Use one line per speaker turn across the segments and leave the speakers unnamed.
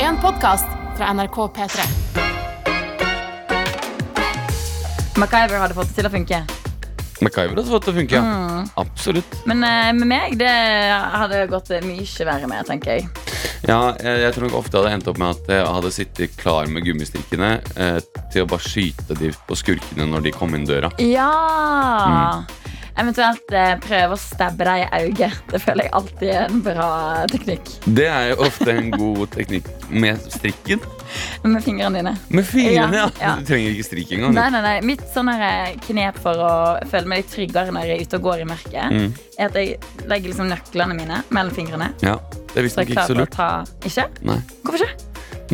en podkast fra NRK P3.
MacGyver hadde fått det til å funke.
MacGyver hadde fått det til å funke, ja.
Mm.
Absolutt.
Men eh, med meg det hadde gått mye verre med, tenker jeg.
Ja, jeg, jeg tror nok ofte hadde endt opp med at jeg hadde sittet klar med gummistikkene eh, til å bare skyte de på skurkene når de kom inn døra.
Ja! Mm. Eventuelt eh, prøve å stabbe deg i øyet. Det føler jeg alltid er en bra teknikk.
Det er jo ofte en god teknikk med strikken.
Med fingrene dine.
Med fingrene, ja.
Ja, ja.
Du trenger ikke strikk engang. du.
Nei, nei, nei. Mitt sånn her, eh, knep for å føle meg litt tryggere når jeg er ute og går i mørket,
Mm.
er at jeg legger liksom nøklene mine mellom fingrene.
Ja, det er
Så
visstnok
jeg
ikke så
klarer å
lurt.
ta Ikke?
Nei,
Hvorfor ikke?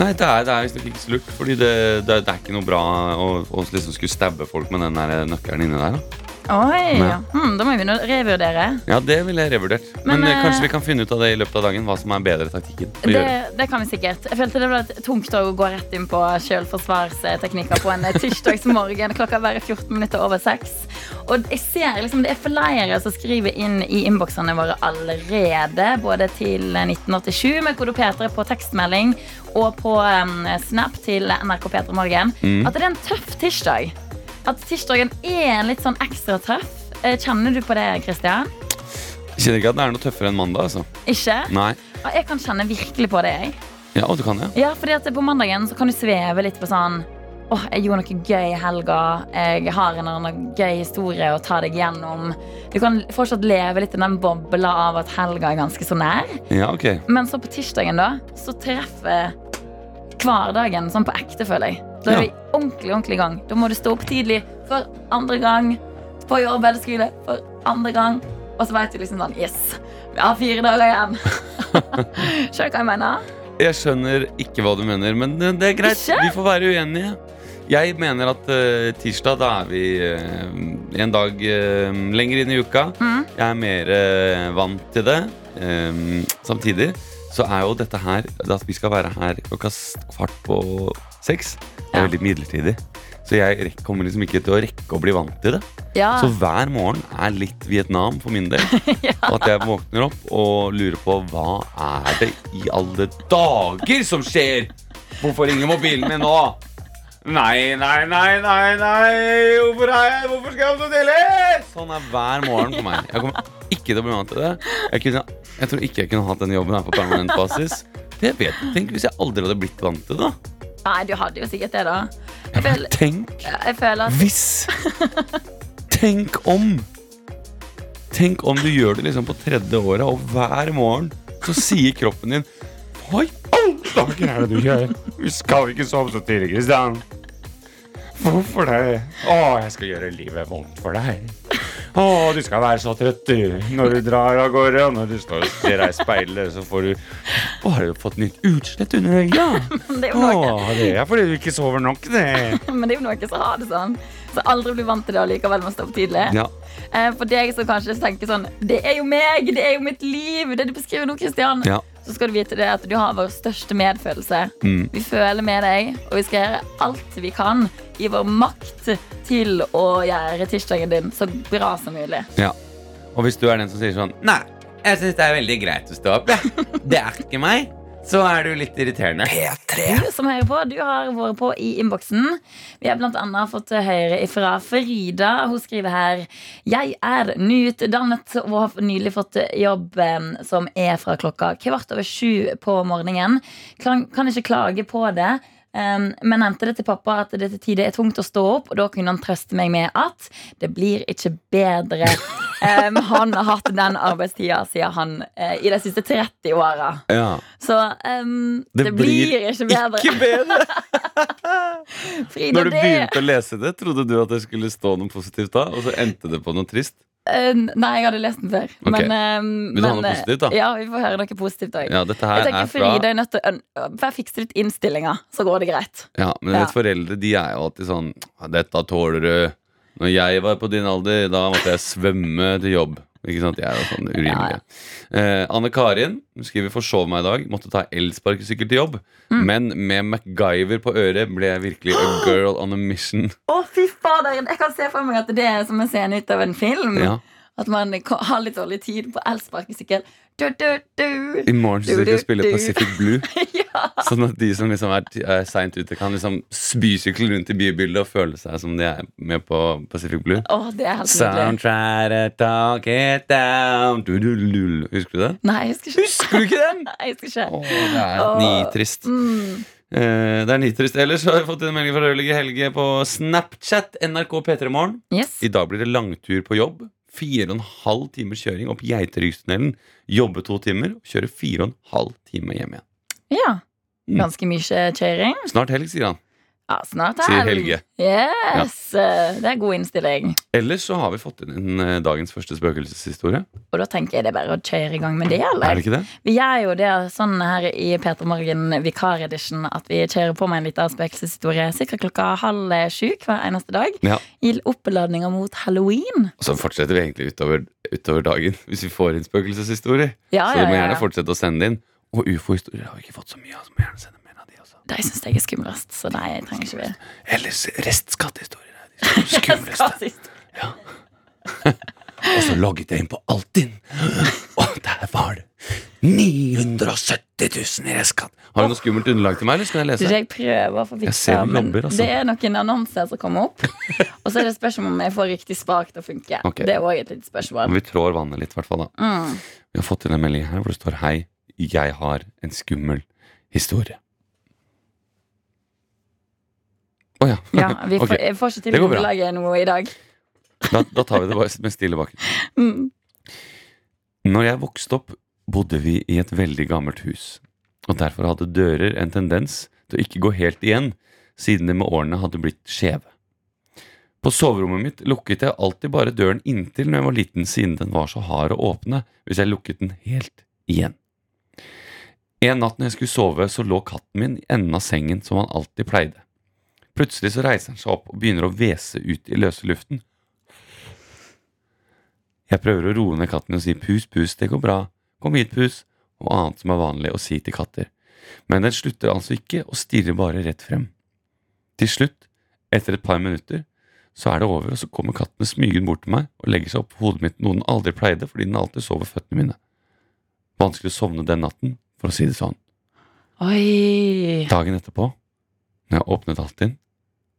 Nei det er, det er visstnok ikke så lurt. Fordi det, det, det er ikke noe bra å, å liksom skulle stabbe folk med den der nøkkelen inni der. Da.
Oi,
Nei.
ja. hmm, Da må jeg begynne å revurdere.
Ja, det ville jeg revurdert. Men,
Men,
eh,
eh,
kanskje vi kan finne ut av det i løpet av dagen. Hva som er bedre taktikken å
Det,
gjøre.
det kan vi sikkert. Jeg følte det var litt tungt å gå rett inn på selvforsvarsteknikker på en eh, tirsdagsmorgen. Klokka er bare 14 minutter over seks. Og jeg ser liksom, det er flere som skriver inn i innboksene våre allerede. Både til 1987 med kode P3 på tekstmelding og på em, Snap til NRK P3 Morgen. At det er en tøff tirsdag. At tirsdagen er en litt sånn ekstra tøff. Eh, Kjenner du på det, Kristian?
Kjenner ikke at det er noe tøffere enn mandag, altså.
Ikke?
Nei.
Ja, Jeg kan kjenne virkelig på det, jeg.
Ja, og du kan det. Ja.
Ja, fordi at på mandagen så kan du sveve litt på sånn Åh, jeg gjorde noe gøy i helga. Jeg har en eller annen gøy historie å ta deg gjennom. Du kan fortsatt leve litt i den bobla av at helga er ganske så nær.
Ja, ok.
Men så på tirsdagen, da, så treffer hverdagen sånn på ekte, føler jeg. Da er
Ja.
vi ordentlig, ordentlig i gang. Da må du stå opp tidlig for andre gang. På jobb eller skole for andre gang. Og så veit du liksom sånn Yes, vi har fire dager igjen. Skjønner du hva jeg mener?
Jeg skjønner ikke hva du mener, men det, det er greit.
Ikke?
Vi får være uenige. Jeg mener at eh, tirsdag, da er vi eh, en dag eh, lenger inn i uka.
Mm.
Jeg er mer eh, vant til det. Ehm, samtidig så er jo dette her At vi skal være her klokka s- kvart på seks, det er
Ja.
veldig midlertidig. Så jeg rekk- kommer liksom ikke til å rekke å bli vant til det.
Ja.
Så hver morgen er litt Vietnam for min del. Og at jeg våkner opp og lurer på hva er det i alle dager som skjer? Hvorfor ringer mobilen min nå? Nei, nei, nei, nei, nei. Hvorfor, er jeg, hvorfor skal jeg opp så tidlig? Sånn er hver morgen for meg. Jeg kommer ikke til å bli vant til det. Jeg, kunne, jeg tror ikke jeg kunne hatt den jobben her på permanent basis. Det vet jeg. Tenk hvis jeg aldri hadde blitt vant til det. da.
Nei, du hadde jo sikkert det, da. Jeg føler,
Tenk
jeg føler at
Hvis Tenk om Tenk om du gjør det liksom på tredje året Og hver morgen så sier kroppen din Hva i alle dager er det du gjør? Vi skal ikke sove så tidlig, Kristian Hvorfor det? Å, jeg skal gjøre livet vondt for deg Å, du skal være så trøtt du Når du drar av gårde Og når du står og ser deg i speilet Så får du Å, har du fått nytt utslett under øynene?
det er jo noe,
Å, det er fordi du ikke sover nok det
men det er jo noe som har det sånn. Så aldri bli vant til det og likevel må stå opp tidlig.
Ja,
Eh, For deg som kanskje tenker sånn Det er jo meg! Det er jo mitt liv! Det du beskriver nå, Kristian.
ja
Så skal du vite det at du har vår største medfølelse.
Mm.
Vi føler med deg, og vi skal gjøre alt vi kan i vår makt til å gjøre tirsdagen din så bra som mulig.
Ja. Og hvis du er den som sier sånn Nei, jeg syns det er veldig greit å stå opp, jeg. Det er ikke meg. Så er du litt irriterende.
Du som hører på, du har vært på i innboksen. Vi har blant annet fått til høyre ifra Farida. Hun skriver her Jeg er nyutdannet og har nylig fått jobb eh, som er fra klokka kvart over sju på morgenen. Kan, kan ikke klage på det. Um, men nevnte det til pappa at det til tider er tungt å stå opp, og da kunne han trøste meg med at det blir ikke bedre. Um, han har hatt den arbeidstida siden han eh, i de siste 30 åra.
Ja.
Så ehm, det, blir, ikke bedre. Frida,
Når du
det-
begynte å lese det, trodde du at det skulle stå noe positivt da, og så endte det på noe trist?
Eh, nei, jeg hadde lest den før.
Ok.
Men, ehm,
Vil du ha
men,
noe
eh,
positivt, da?
Ja, vi får høre noe positivt òg.
Ja, dette
Jeg
her
tenker
er fra
Frida er nødt til å øh, øn- Bare fikse litt innstillinga, så går det greit.
Ja, men jeg
Ja.
vet foreldre de er jo alltid sånn «Ja, 'Dette tåler du'. Når jeg var på din alder, da måtte jeg svømme til jobb. Ikke sant? Jeg er jo sånn urimelig. Eh, Anne Karin hun skriver 'Forsov meg i dag'. Måtte ta elsparkesykkel til jobb. Men med MacGyver på øret ble jeg virkelig a girl on a mission.
Å, fy fader! Jeg kan se for meg at det er som en scene ut av en film.
Ja.
At man ko- har litt dårlig tid på elsparkesykkel. Du, du, du.
I morgen så skal jeg spille Pacific Blue.
ja.
Sånn at de som liksom er, er seint ute, kan liksom spysykle rundt i bybildet og føle seg som de er med på Pacific Blue.
Åh, det er helt nydelig.
Soundtry to talk it down du, du, du, du. Husker du den?
Nei, jeg husker ikke.
Husker du ikke den?
Nei, jeg husker ikke.
Åh, det er
Åh.
nitrist.
Mm.
Eh, det er nitrist. Ellers har jeg fått en melding fra Rødligge Helge på Snapchat NRK P3 Morgen.
Yes.
I dag blir det langtur på jobb. Fire og en halv times kjøring opp Geiterygstunnelen. Jobbe to timer, kjøre fire og en halv time hjem igjen.
Ja.
Mm.
Ganske mye kjøring.
Snart helg, sier han.
Ja, snart
Sier
helg.
Helge.
Yes. eh, Det er god innstilling.
Ellers så har vi fått inn eh, dagens første spøkelseshistorie.
Og da tenker jeg det er bare å kjøre i gang med det,
Er
eller?
det ikke det?
Vi gjør jo det sånn her i Peter Morgen vikar-edition at vi kjører på med en liten spøkelseshistorie sikkert klokka halv sju hver eneste dag.
Ja.
I oppladninga mot halloween.
Og så fortsetter vi egentlig utover, utover dagen hvis vi får inn spøkelseshistorie.
Ja,
så
ja,
dere må
ja,
gjerne
ja.
fortsette å sende inn. Og ufo-historier har vi ikke fått så mye av. så må vi gjerne sende mer av de også.
De syns jeg er skumlest, så de trenger ikke vi.
Ellers restskattehistorier er de skumleste.
Rasist.
Og så logget jeg inn på Altinn, og der var det 970 000 i restskatt. Har du noe skummelt underlag til meg, eller skal jeg
Tror
lese?
ikke jeg prøver å få
Jeg ser
fiksa,
du
men
jobber, altså.
det er noen annonser som kommer opp. Og så er det spørsmål om jeg får riktig spak til å funke.
Ok.
Det er òg et lite spørsmål.
Vi trår vannet litt, i hvert fall. da.
Mm.
Vi har fått inn en melding her hvor det står 'Hei, jeg har en skummel historie'. Å ja.
Ja, vi får,
Ok,
Jeg får ikke
Det
til
går bra.
underlaget noe i dag.
Da, da tar vi det bare med stille bakken.
Mm.
Når jeg vokste opp, bodde vi i et veldig gammelt hus, og derfor hadde dører en tendens til å ikke gå helt igjen, siden de med årene hadde blitt skjeve. På soverommet mitt lukket jeg alltid bare døren inntil når jeg var liten, siden den var så hard å åpne hvis jeg lukket den helt igjen. En natt når jeg skulle sove, så lå katten min i enden av sengen som han alltid pleide. Plutselig så reiser han seg opp og begynner å hvese ut i løse luften. Jeg prøver å roe ned katten og si pus, pus, det går bra, kom hit, pus, og annet som er vanlig å si til katter. Men den slutter altså ikke og stirrer bare rett frem. Til slutt, etter et par minutter, så er det over, og så kommer katten smygen bort til meg og legger seg opp på hodet mitt, noe den aldri pleide fordi den alltid sov ved føttene mine. Vanskelig å sovne den natten, for å si det sånn.
Oi.
Dagen etterpå, når jeg åpnet Altinn,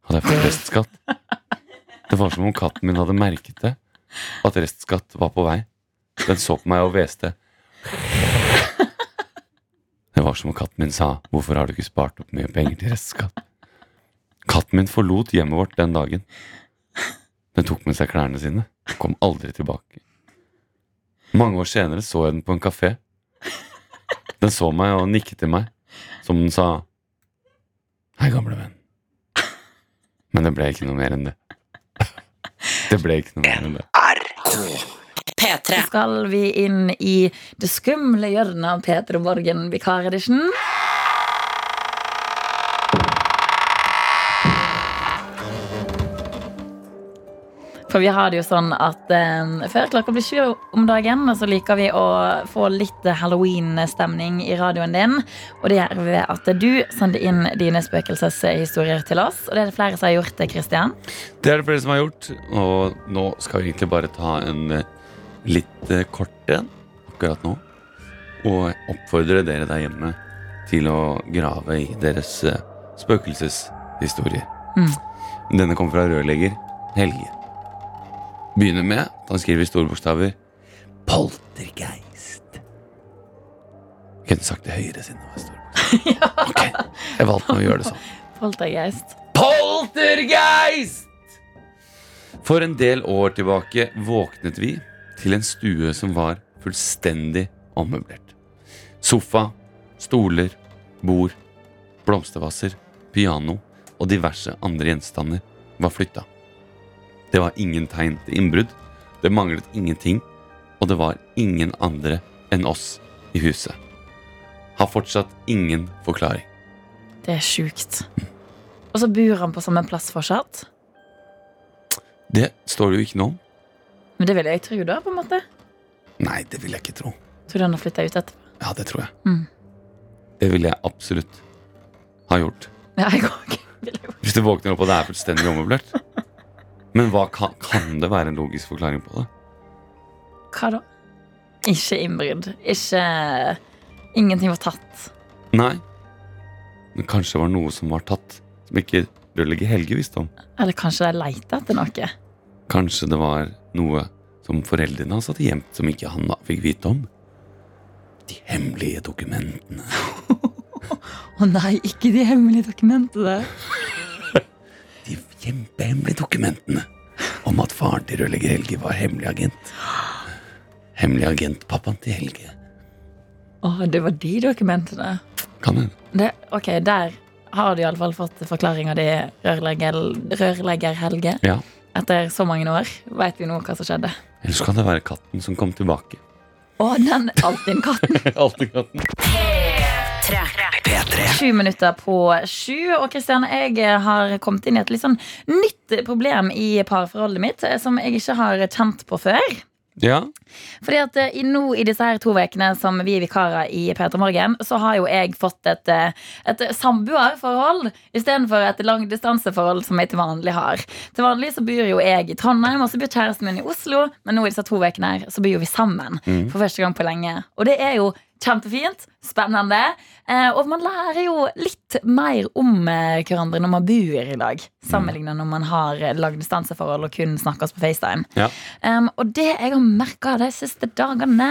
hadde jeg fått restskatt. Det var som om katten min hadde merket det, at restskatt var på vei. Den så på meg og hveste. Det var som om katten min sa 'Hvorfor har du ikke spart opp mye penger til restskatt?' Katten min forlot hjemmet vårt den dagen. Den tok med seg klærne sine og kom aldri tilbake. Mange år senere så jeg den på en kafé. Den så meg og nikket til meg, som den sa Hei, gamle venn. Men det ble ikke noe mer enn det. Det ble ikke noe mer enn det.
Så skal vi inn i det skumle hjørnet av Peter Borgen vikaredition. For vi har det jo sånn at eh, før klokka blir sju om dagen, så liker vi å få litt halloween-stemning i radioen din. Og det gjør vi ved at du sender inn dine spøkelseshistorier til oss. Og det er det flere som har gjort, det, Christian.
Det er det flere som har gjort, og nå skal vi egentlig bare ta en eh, litt eh, kort en akkurat nå. Og jeg oppfordrer dere der hjemme til å grave i deres eh, spøkelseshistorier. Denne kommer fra rørlegger Helge. Begynner med at han skriver i store bokstaver Poltergeist. Jeg kunne sagt det høyere siden det var store bokstaver. Ok, jeg valgte å gjøre det sånn.
Poltergeist.
Poltergeist! For en del år tilbake våknet vi til en stue som var fullstendig ommøblert. Sofa, stoler, bord, blomstervasser, piano og diverse andre gjenstander var flytta. Det var ingen tegn til innbrudd, det manglet ingenting, og det var ingen andre enn oss i huset. Har fortsatt ingen forklaring.
Det er sjukt. Og så bor han på samme plass fortsatt.
Det står det jo ikke noe om.
Men det vil jeg tro, da. på en måte
Nei, det vil jeg ikke tro.
Tror du han har flytta ut etterpå?
Ja, det tror jeg.
Mm.
Det ville jeg absolutt ha gjort.
Ja, jeg òg. Vil jeg jo.
Hvis du våkner opp og det er fullstendig ommøblert. Men hva kan, kan det være en logisk forklaring på det?
Hva da? Ikke innbrudd. Ikke Ingenting var tatt.
Nei. Men kanskje det var noe som var tatt, som ikke rørlegger Helge visste om.
Eller kanskje de leter etter noe.
Kanskje det var noe som foreldrene hans hadde gjemt, som ikke han da fikk vite om. De hemmelige dokumentene.
Å nei, ikke de hemmelige dokumentene.
De kjempehemmelige dokumentene om at faren til rørlegger Helge var hemmelig agent. Hemmelig agentpappaen til Helge.
Å, det var de dokumentene.
Kan hende.
Det, ok, der har du iallfall fått forklaringa di, rørlegger, rørlegger Helge.
Ja.
Etter så mange år veit vi nå hva som skjedde.
Eller så kan det være katten som kom tilbake.
Å, den Altinn-katten.
Alltid katten.
Sju minutter på sju. Og Kristian, jeg har kommet inn i et litt sånn nytt problem i parforholdet mitt eh, som jeg ikke har kjent på før.
Ja.
Fordi at eh, i, nå i disse her to ukene som vi er vikarer i P3 Morgen, så har jo jeg fått et, eh, et samboerforhold istedenfor et langdistanseforhold som jeg til vanlig har. Til vanlig så bor jo jeg i Trondheim, og så bor kjæresten min i Oslo, men nå i disse to ukene her så bor jo vi sammen for første gang på lenge. Og det er jo kjempefint, spennende, eh, og man lærer jo litt mer om eh, hverandre når man bor i lag, sammenlignet når man har eh, langdistanseforhold og kun snakkes på FaceTime.
ja.
Um, og det jeg har merka de siste dagene,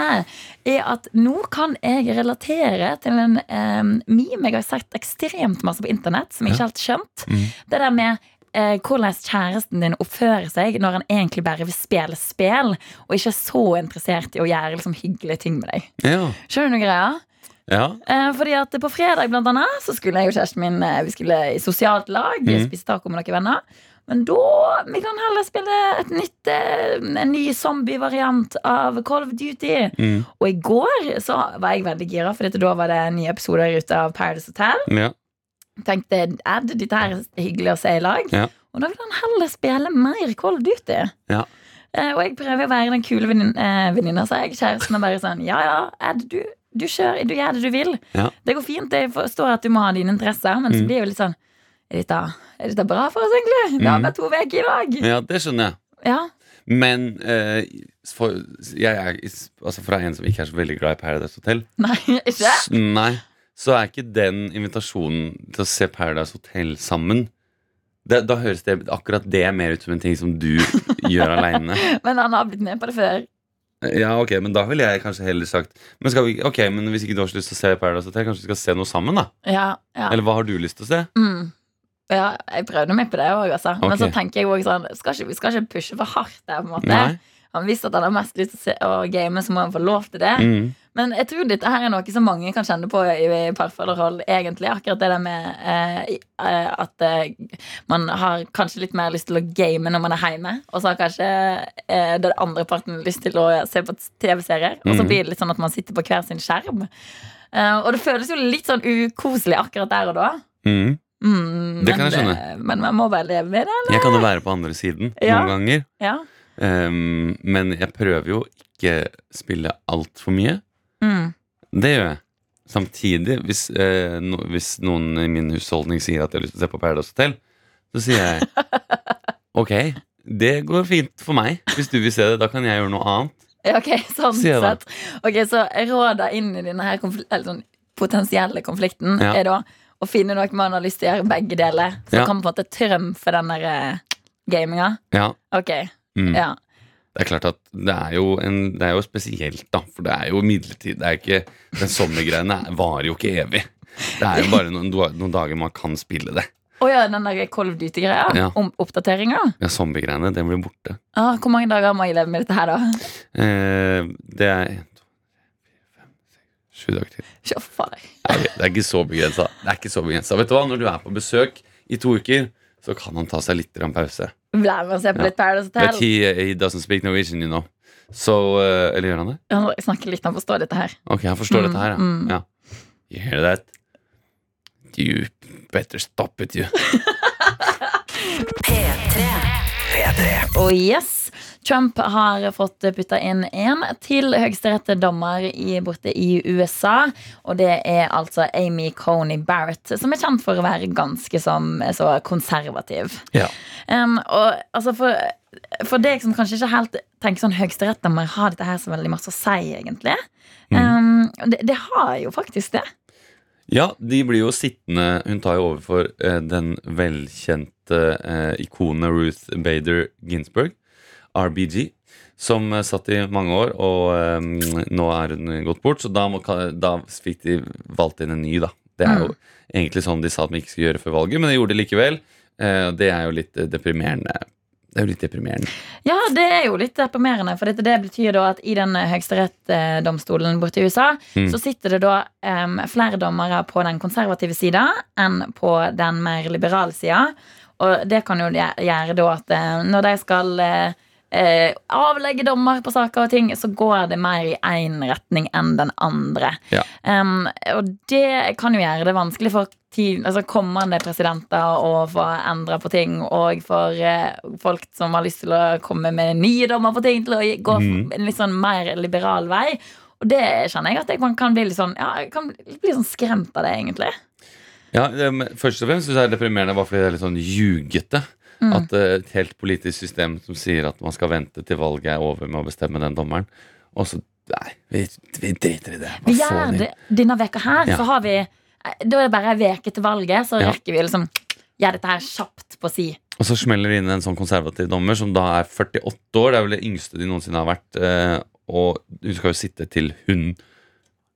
er at nå kan jeg relatere til en um, meme jeg har sett ekstremt masse på internett, som jeg ikke helt skjønt. Det der med eh, hvordan kjæresten din oppfører seg når han egentlig bare vil spille spill, og ikke er så interessert i å gjøre liksom, hyggelige ting med deg.
Ja.
Skjønner du greia?
ja.
Eh, fordi at på fredag blant annet Så skulle jeg og kjæresten min eh, Vi skulle i sosialt lag
Mhm.
Spise taco med noen venner Men da Vi kan heller spille et nytt eh, En ny zombie-variant Av Call of Duty
Mm.
Og i går så var jeg veldig gira For da var det nye episoder ute av Paradise Hotel
ja.
Tenkte Ed, dette her er hyggelig å se i lag
Ja.
Og da vil han heller spille mer Call of Duty
Ja.
Eh, Og jeg prøver å være den kule vennin- eh, venninna, sa jeg. Kjæresten er bare sånn Ja, ja, Ed, du, du kjører, du gjør det du vil.
Ja.
Det går fint, jeg forstår at du må ha dine interesser, men så
Mm.
blir jeg jo litt sånn er dette, er dette bra for oss, egentlig? Vi har
Mm.
bare to uker i dag.
ja, det skjønner jeg.
Ja.
Men eh, for, jeg er, altså fra en som ikke er så veldig glad i Paradise Hotel
Nei, ikke?
S- Nei, så er ikke den invitasjonen til å se Paradise Hotel sammen det, Da høres det akkurat det mer ut som en ting som du gjør aleine.
Men han har blitt med på det før.
Ja, ok, men da ville jeg kanskje heller sagt men, skal vi, Ok, men hvis ikke du har så lyst til å se Paradise Hotel, kanskje vi skal se noe sammen, da?
Ja, ja.
Eller hva har du lyst til å se?
Mm. ja jeg prøvde meg på det òg, altså. Men så
Ok.
tenker jeg òg sånn skal ikke, Vi skal ikke pushe for hardt der, på en måte.
Nei?
Han visste at han har mest lyst til å, se, å game, så må han få lov til det.
Mm.
Men jeg tror dette her er noe som mange kan kjenne på i parforhold, egentlig. Akkurat det der med eh, i- eh, at eh, man har kanskje litt mer lyst til å game når man er hjemme, og så har kanskje eh, den andre parten lyst til å se på TV-serier, og så
Mhm.
blir det litt sånn at man sitter på hver sin skjerm. Eh, og det føles jo litt sånn ukoselig akkurat der og da.
Mm.
Mm,
Det kan
men,
jeg
eh, Men man må bare leve med det.
Jeg kan jo være på andre siden
Ja.
noen ganger,
Ja.
um, men jeg prøver jo ikke spille altfor mye.
Mm.
Det gjør jeg. Samtidig, hvis, eh, no, hvis noen i min husholdning sier at jeg har lyst til å se på Paradise Hotel, så sier jeg ok, det går fint for meg. Hvis du vil se det, da kan jeg gjøre noe annet.
Ja, Ok, sånn
Sier det.
sett. Ok, Så råda inn i denne her konfl- eller sånn potensielle konflikten
Ja.
er da å finne noe man har lyst til å gjøre begge deler. Så
Ja.
kan man på en måte trømfe den der eh, gaminga.
Ja,
Ok,
mm.
ja.
Det er klart at det er jo, en, det er jo spesielt, da. For det er jo midlertid. Det er ikke, den sommergreiene varer jo ikke evig. Det er jo bare noen, noen dager man kan spille det.
Å ja, den der Call of Duty-greia.
Ja.
Om oppdateringa.
Ja, Sommergreiene, det blir borte.
Ah, hvor mange dager må jeg leve med dette her, da?
Eh, det er en, to, tre, fire, fem, seks, sju dager til.
Sjå, far.
Nei, Det er ikke så begrensa. Det er ikke så begrenset. Vet du hva, Når du er på besøk i to uker, så kan han ta seg litt grann pause.
Bli med og se på
Ja.
litt Paradise
But
Hotel.
he, eh, he doesn't speak Norwegian, you know. So, eh, eller gjør han det?
Han snakker litt, han forstår dette her.
Ok, han forstår
Mm,
dette her, ja.
mm.
ja. You hear that? You better stop it, you.
Og yes, Trump har fått putta inn en til høyesterettsdommer i- borte i USA. Og det er altså Amy Coney Barrett, som er kjent for å være ganske som, eh, så konservativ.
Ja.
Em, og altså for, for deg som kanskje ikke helt tenker sånn høyesterettsdommer har dette her så veldig masse å si, egentlig. Em, og det, det har jo faktisk det.
Ja, de blir jo sittende Hun tar jo over for eh, den velkjente eh, ikonet Ruth Bader Ginsburg, RBG, som eh, satt i mange år, og eh, nå er hun gått bort, så da, må, ka- da fikk de valgt inn en ny, da. Det er jo
Mm.
egentlig sånn de sa at vi ikke skulle gjøre før valget, men de gjorde det likevel. Eh, og det er jo litt eh, deprimerende. Det er jo litt deprimerende.
Ja, det er jo litt deprimerende. For dette, det betyr da at i den høyesterettsdomstolen borte i USA,
Mm.
så sitter det da em, flere dommere på den konservative sida enn på den mer liberale sida. Og det kan jo gjæ- gjøre da at eh, når de skal eh, eh, avlegge dommer på saker og ting, så går det mer i én retning enn den andre.
Ja.
Em, og det kan jo gjøre det vanskelig for ti, altså kommende presidenter å få endra på ting, og for eh, folk som har lyst til å komme med nye dommer på ting, til å gi- gå
Mhm.
en litt sånn mer liberal vei. Og det kjenner jeg at jeg man kan bli litt sånn Ja, jeg kan bli litt sånn skremt av det, egentlig.
Ja, det- men Først og fremst synes jeg det er deprimerende bare fordi det er litt sånn ljugete. At eh, et helt politisk system som sier at man skal vente til valget er over med å bestemme den dommeren. Og så Nei, vi, vi driter i det. Hva
Vi
får
gjør
de?
det denne veka her,
Ja.
så har vi eh, Da er det bare ei uke til valget, så
Ja.
rekker vi å liksom gjøre dette her kjapt på si.
Og så smeller det inn en sånn konservativ dommer som da er 48 år. Det er vel det yngste de noensinne har vært. eh, Og hun skal jo sitte til hun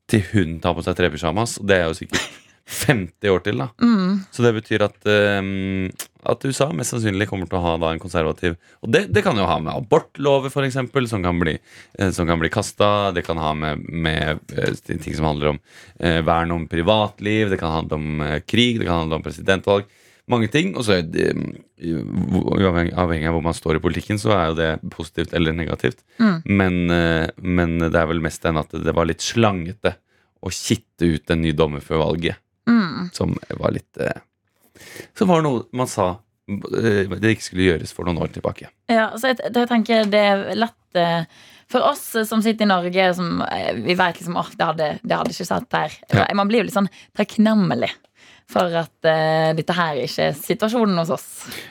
Til hun tar på seg trepysjamas. Og det er jo sikkert 50 år til, da.
Mm.
Så det betyr at, eh, at USA mest sannsynlig kommer til å ha da en konservativ Og det, det kan jo ha med abortlover, for eksempel, som kan bli, eh, som kan bli kasta. Det kan ha med, med eh, ting som handler om eh, vern om privatliv, det kan handle om eh, krig, det kan handle om presidentvalg. Mange ting. Og så er det, eh, hvor- uavhengig avhengig av hvor man står i politikken, så er jo det positivt eller negativt.
Mm.
Men, eh, men det er vel mest enn at det var litt slangete å kitte ut en ny dommer før valget
Mm.
som var litt eh, Som var noe man sa eh, det ikke skulle gjøres for noen år tilbake.
Ja, så jeg, jeg tenker det er lett eh, for oss som sitter i Norge, som eh, vi vet liksom åh, det, hadde, det hadde ikke satt her.
Ja.
Man blir jo litt sånn takknemlig for at eh, dette her ikke er situasjonen hos oss.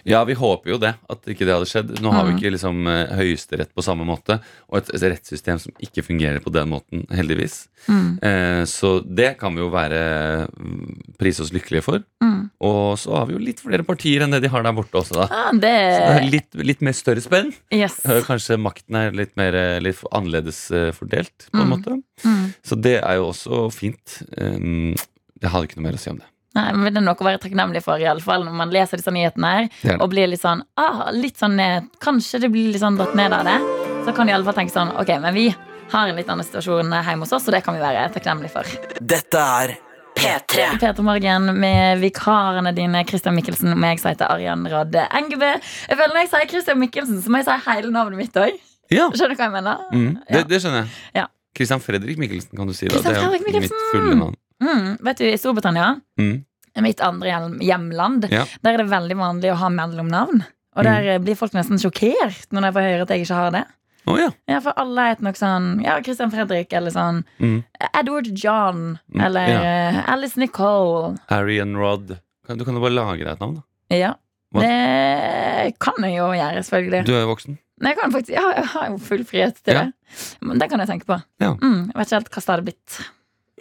Ja, vi håper jo det, at ikke det hadde skjedd. Nå har vi
Mm.
ikke liksom eh, høyesterett på samme måte, og et et rettssystem som ikke fungerer på den måten, heldigvis.
Mm.
Eh, så det kan vi jo være mm, prise oss lykkelige for.
Mm.
Og så har vi jo litt flere partier enn det de har der borte også, da.
Ah, det
Så det er litt, litt mer større spenn.
Yes.
Eh, Kanskje makten er litt, mer, eh, litt annerledes eh, fordelt, på en
Mm.
måte.
Mm.
Så det er jo også fint. Um, jeg hadde ikke noe mer å si om det.
Nei, men Det er noe å være takknemlig for, i alle fall når man leser disse nyhetene her.
Det er det.
Og blir litt sånn, ah, litt sånn eh, Kanskje det blir litt sånn dratt ned av det. Så kan du iallfall tenke sånn Ok, men vi har en litt annen situasjon hjemme hos oss, og det kan vi være takknemlige for.
Dette er P3.
Peter Morgen med vikarene dine, Christian Mikkelsen og meg, som heter Arian Radde Engebø. Jeg føler Når jeg sier Christian Mikkelsen, så må jeg si hele navnet mitt òg.
Ja,
Skjønner du hva jeg mener?
mm, det,
Ja.
det skjønner jeg.
Ja.
Christian Fredrik Mikkelsen kan du si. Da.
Christian
Det er
Fredrik
jo
Mikkelsen!
mitt fulle navn.
Mm, vet du, I Storbritannia,
Mm.
mitt andre hjem- hjemland,
Ja. Mm.
der er det veldig vanlig å ha mellomnavn. Og der eh, blir folk nesten sjokkert når de får høre at jeg ikke har det.
Å ja.
Ja, For alle heter nok sånn Ja, Christian Fredrik, eller sånn
Mm.
Edward John,
Mm,
eller
ja.
eh, Alice Nicole.
Harry and Rod. Kan- Du kan jo bare lage deg et navn, da.
Ja.
Hva-
Det kan jeg jo gjøre, selvfølgelig.
Du er jo voksen.
Men jeg, kan faktisk, ja, jeg har jo full frihet til
Ja.
det. Men det kan jeg tenke på.
Ja.
Mm, jeg vet ikke helt hva det hadde blitt.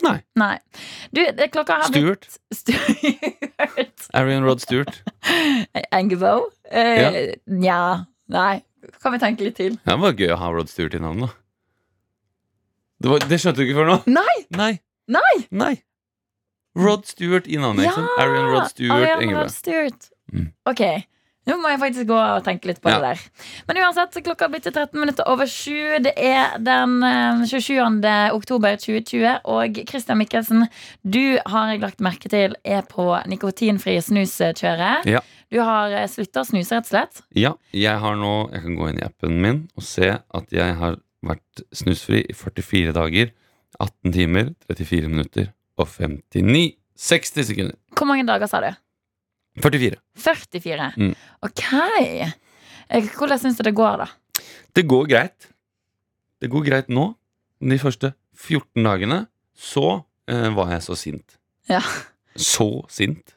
Nei.
Nei. Du, det, klokka har blitt
Stuart.
Stuart
Harry and Rod Stuart.
Angebo. Eh, Nja. Nei. Kan vi tenke litt til?
Ja, det var gøy å ha Rod Stuart i navnet, da. Det, var, det skjønte du ikke før nå?
Nei!
Nei.
Nei.
Nei. Rod Stewart i navnet, ikke sant? Harry and Rod Stewart
Arian
Engebø.
Rod Stewart.
Mm.
Ok. Nå må jeg faktisk gå og tenke litt på
Ja.
det der. Men uansett, så klokka har blitt til 13 minutter over 7. Det er den eh, 27. oktober 2020. Og Christian Mikkelsen, du har jeg lagt merke til er på nikotinfrie snuskjøret.
Ja.
Du har slutta å snuse, rett og slett.
Ja, jeg har nå Jeg kan gå inn i appen min og se at jeg har vært snusfri i 44 dager, 18 timer, 34 minutter og 59 60 sekunder.
Hvor mange dager sa du?
44.
44.
Mm.
Ok. Eh, Hvordan syns du det går, da?
Det går greit. Det går greit nå. De første 14 dagene så eh, var jeg så sint.
Ja.
Så sint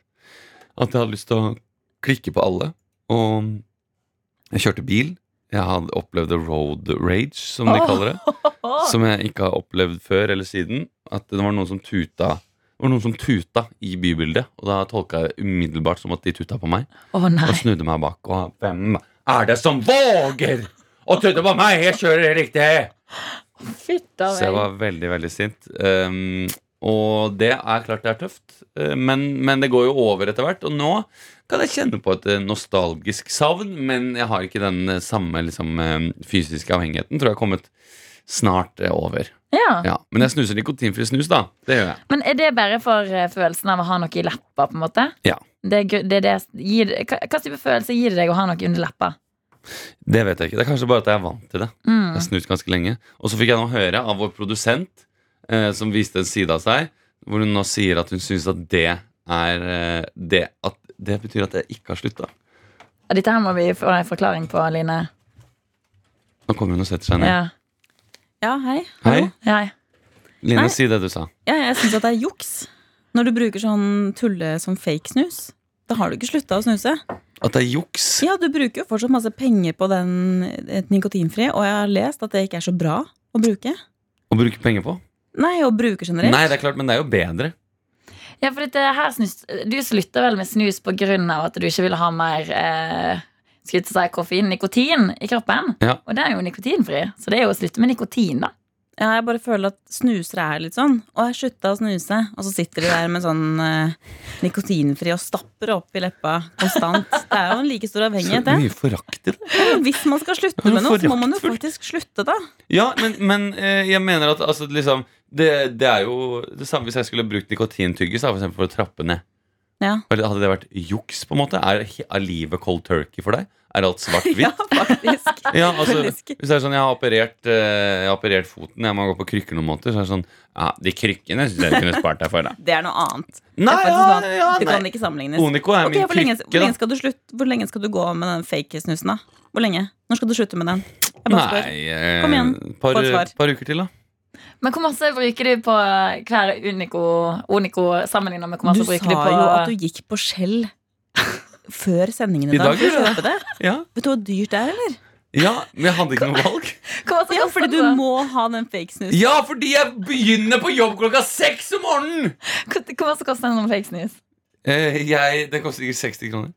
at jeg hadde lyst til å klikke på alle. Og jeg kjørte bil. Jeg hadde opplevd road rage, som de kaller det. som jeg ikke har opplevd før eller siden. At det var noen som tuta var det noen som tuta i bybildet, og da tolka jeg umiddelbart som at de tuta på meg.
Å nei.
Og snudde meg bak. Og hvem er det som våger å tutte på meg? Jeg kjører riktig!
Fytta
Så jeg
meg.
var veldig, veldig sint. Um, og det er klart det er tøft, eh, men, men det går jo over etter hvert. Og nå kan jeg kjenne på et eh, nostalgisk savn, men jeg har ikke den eh, samme liksom, eh, fysiske avhengigheten. Tror jeg har kommet snart eh, over.
Ja.
Ja, Men jeg snuser nikotinfri snus, da. Det gjør jeg.
Men er det bare for eh, følelsen av å ha noe i leppa, på en måte?
Ja.
Det, er gøy- det, er det, gir, hva, hva type følelse gir det deg å ha noe under leppa?
Det vet jeg ikke. Det er kanskje bare at jeg er vant til det. Jeg
Mm.
har snust ganske lenge. Og så fikk jeg nå høre av vår produsent, eh, som viste en side av seg, hvor hun nå sier at hun syns at det er eh, det, at det betyr at jeg ikke har slutta.
Ja, Dette her må vi få en forklaring på, Line.
Nå kommer hun og setter seg ned.
Ja,
Ja, hei.
Hei,
ja.
Line,
Nei.
si det du sa.
Ja, jeg syns at det er juks når du bruker sånn tulle som fake snus. Da har du ikke slutta å snuse.
At det er juks.
Ja, du bruker jo fortsatt masse penger på den eh, nikotinfrie, og jeg har lest at det ikke er så bra å bruke.
Å bruke penger på?
Nei, å bruke generelt.
Nei, det er klart, men det er jo bedre.
ja for dette her snus, du slutta vel med snus på grunn av at du ikke ville ha mer eh, skulle jeg til å si koffein, nikotin i kroppen.
Ja.
Og det er jo nikotinfri, så det er jo å slutte med nikotin, da.
Ja, jeg bare føler at snusere er litt sånn. Og jeg slutta å snuse, og så sitter de der med sånn eh, nikotinfri og stapper opp i leppa konstant. Det er jo en like stor
Så
avhengighet, det.
mye forakt i det.
Men Hvis man skal slutte
Ja,
med noe, så må man jo
foraktfullt.
faktisk slutte, da.
Ja, men, men eh, jeg mener at altså, liksom, det, det er jo det samme hvis jeg skulle brukt nikotintyggis da, for, eksempel for å trappe ned.
Ja.
Eller Hadde det vært juks, på en måte? Er, er livet cold turkey for deg? Er alt
Ja,
svart-hvitt?
faktisk.
Ja, altså, hvis
Faktisk.
det er sånn, jeg har operert, eh, jeg har operert foten, jeg må gå på krykker noen måneder, så er det sånn Ja, de krykkene syns jeg du kunne spart deg for, da.
Det er noe annet.
Nei,
det
Ah,
er
ja,
faktisk noe
ja,
annet. Det kan
nei.
ikke sammenlignes.
Onico er
Ok,
min
hvor, lenge,
krykke,
hvor,
da.
lenge skal du slutt- hvor lenge skal du gå med den fake-snusen, da? Hvor lenge? Når skal du slutte med den? Jeg bare spør.
Nei, eh,
Kom igjen,
par,
få et svar.
par uker til, da.
Men hvor masse bruker du på hver Unico, Unico sammenligna med hvor
Du
masse
sa
bruker du på
jo at du gikk på skjell før sendingen
I
i dag.
dag,
for å kjøpe det.
Ja,
Vet du hvor dyrt det er, eller?
ja men jeg hadde ikke noe valg.
Hvor masse
Ja,
koster
fordi du
det?
må ha den fake-snusen.
Ja, fordi jeg begynner på jobb klokka seks om morgenen!
Hvor hvor masse koster en sånn fake snus?
Eh, jeg, den koster ikke 60 kroner.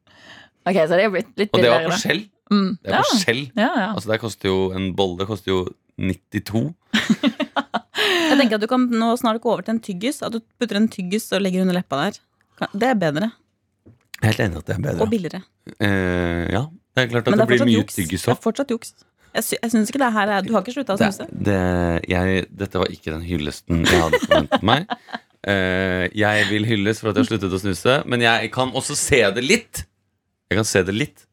Ok, så det er blitt litt
Og det var
billigere.
på
da.
skjell.
Mm.
Det er på
Ja.
skjell.
Ja, ja.
Altså, der koster jo en bolle koster jo 92.
Jeg tenker at Du kan nå snart gå over til en tyggis. At du putter en tyggis og legger under leppa der. Kan- Det er bedre.
Jeg er helt enig at det er bedre.
Og billigere.
Eh, ja, det er klart at
Men
det,
det
blir
er fortsatt
mye
juks.
tyggis
Det er
opp.
fortsatt juks. Jeg, sy jeg syns ikke det her er Du har ikke slutta å
Det,
snuse?
det, jeg, dette var ikke den hyllesten jeg hadde forventet meg. Eh, jeg vil hylles for at jeg har sluttet å snuse, men jeg kan også se det litt. Jeg kan se det litt.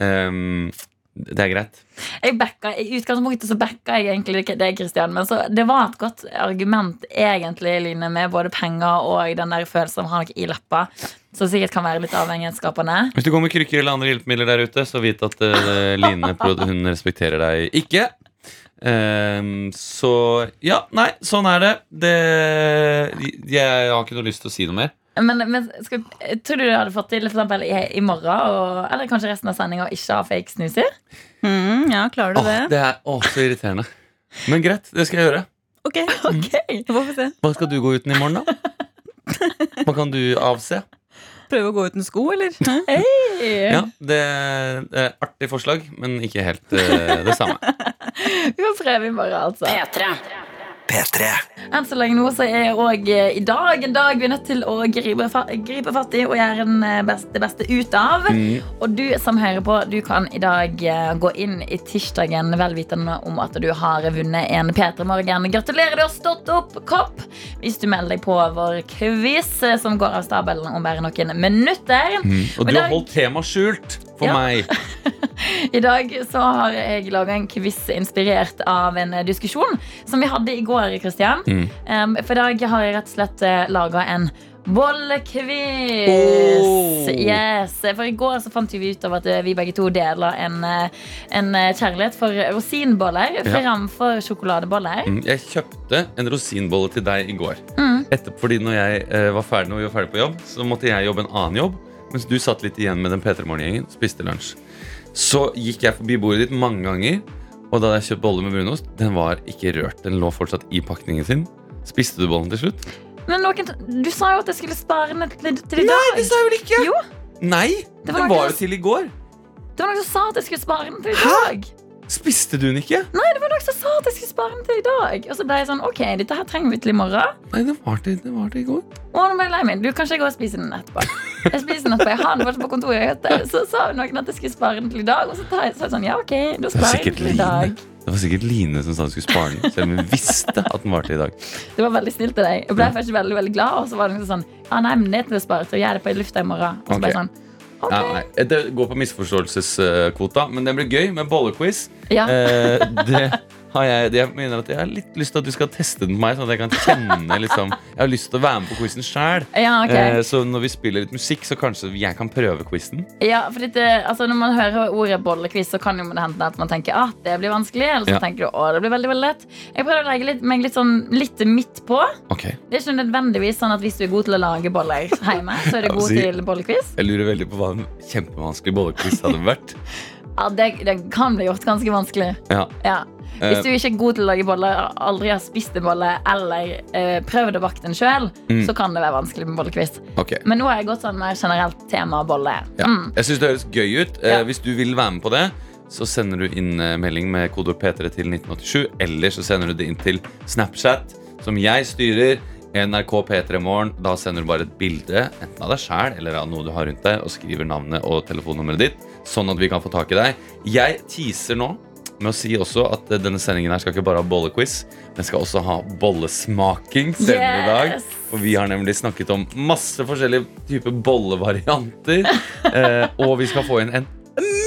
Ehm, det er greit.
Jeg backa, I utgangspunktet så backa jeg egentlig ikke det, Christian. Men så, det var et godt argument, egentlig, Line, med både penger og den der følelsen av å ha noe i leppa, som sikkert kan være litt avhengighetsskapende.
Hvis du går med krykker eller andre hjelpemidler der ute, så vit at eh, Line Prod, hun respekterer deg ikke. Ehm, så ja, nei, sånn er det. det. Jeg har ikke noe lyst til å si noe mer.
Men, men skal, tror du du hadde fått til for eksempel, i, i morgen, og, eller kanskje resten av sendinga, å ikke ha fake snuser?
Mm, ja, klarer du
Åh,
det?
det er åh, så irriterende. Men greit, det skal jeg gjøre.
Ok,
Ok.
vi får vi se.
Hva skal du gå uten i morgen, da? Hva kan du avse?
Prøve å gå uten sko, eller? Hæ?
Ja, Det det er artig forslag, men ikke helt eh, det samme.
Vi får prøve i morgen, altså.
P3. P3.
Enn så lenge nå så er òg i dag en dag vi er nødt til å gripe, fa gripe fatt i og gjøre den eh, best- det beste ut av.
Mm.
Og du som hører på, du kan i dag eh, gå inn i tirsdagen velvitende om at du har vunnet en P3 Morgen. Gratulerer, du har stått opp, kopp! Hvis du melder deg på vår quiz eh, som går av stabelen om bare noen minutter.
Mm. Og
Men det
du har
er-
holdt temaet skjult for
Ja.
meg.
I dag så har jeg laga en quiz inspirert av en eh, diskusjon som vi hadde i går. Christian.
Mm.
Em, for i dag har jeg rett og slett laga en bollequiz.
Oh.
Yes. For i går så fant jo vi ut av at eh, vi begge to deler en, eh, en eh, kjærlighet for rosinboller
Ja.
framfor sjokoladeboller.
Mm, Jeg kjøpte en rosinbolle til deg i går.
Mm.
Etterpå, fordi når jeg eh, var ferdig når vi var ferdig på jobb, så måtte jeg jobbe en annen jobb. Mens du satt litt igjen med den P3 Morgen-gjengen. Spiste lunsj. Så gikk jeg forbi bordet ditt mange ganger, og da hadde jeg kjøpt bolle med brunost. Den var ikke rørt. Den lå fortsatt i pakningen sin. Spiste du bollen til slutt?
Men noen, du sa jo at jeg skulle spare den til, til i dag.
Nei, det sa jeg vel ikke?
Jo.
Nei,
Det
det
var
var,
ikke-
jo til i går.
Det var noen som sa at jeg skulle spare den til i dag.
Spiste du den ikke?
Nei, det var noen som sa at jeg skulle spare den til i dag. Og så ble jeg sånn, ok, dette her trenger vi til i morgen.
Nei, det var til, det var til i går.
Og nå ble jeg lei meg. Du, kanskje jeg går og spiser den etterpå. Jeg spiser den etterpå. Jeg har den fortsatt på kontoret. vet du. Så sa noen at jeg skulle spare den til i dag. Og så tar jeg, så er jeg sånn, ja, ok, da
Det var
sparer jeg den
sikkert
til i
Line.
dag.
Det var sikkert Line som sa hun skulle spare den, selv om hun visste at den var til i dag.
Det var veldig snilt av deg. Jeg ble først veldig, veldig glad, og så var det liksom sånn, ja, nei, men det er til å spare til. Jeg gjør det på i lufta i morgen. Og så ble jeg
Ok.
sånn,
Nei,
ok.
nei, Det går på misforståelseskvota, men det blir gøy med bollequiz.
Ja.
Eh, det har jeg, det- jeg mener at jeg har litt lyst til at du skal teste den på meg, sånn at jeg kan kjenne liksom Jeg har lyst til å være med på quizen sjæl.
Ja, ok.
Så når vi spiller litt musikk, så kanskje jeg kan prøve quizen.
Ja, for dette, altså når man hører ordet bollekviss, så kan jo det hende at man tenker at det blir vanskelig. Eller så
Ja.
tenker du at det blir veldig veldig lett. Jeg prøver å legge litt, meg litt, sånn, litt midt på.
Ok
Det er ikke nødvendigvis sånn at hvis du er god til å lage boller hjemme, så er du
Ja, altså,
god
si-
til bollekviss.
Jeg lurer veldig på hva en kjempevanskelig bollequiz hadde vært.
Ja, det, det kan bli gjort ganske vanskelig.
Ja.
Ja.
Eh.
Hvis du ikke er god til å lage boller, aldri har spist en bolle eller eh, prøvd å bake den sjøl,
Mm.
så kan det være vanskelig med bollekviss.
Ok.
Men nå har jeg gått sånn mer generelt tema bolle.
Ja.
Mm.
Jeg syns det høres gøy ut. Eh,
Ja.
Hvis du vil være med på det, så sender du inn eh, melding med kodeord P3 til 1987, eller så sender du det inn til Snapchat, som jeg styrer. NRK P3 Morgen. Da sender du bare et bilde enten av deg sjæl eller av noe du har rundt deg, og skriver navnet og telefonnummeret ditt, sånn at vi kan få tak i deg. Jeg teaser nå med å si også at eh, denne sendingen her skal ikke bare ha bollequiz, den skal også ha bollesmaking senere i dag.
Yes!
For vi har nemlig snakket om masse forskjellige typer bollevarianter. Eh, og vi skal få inn en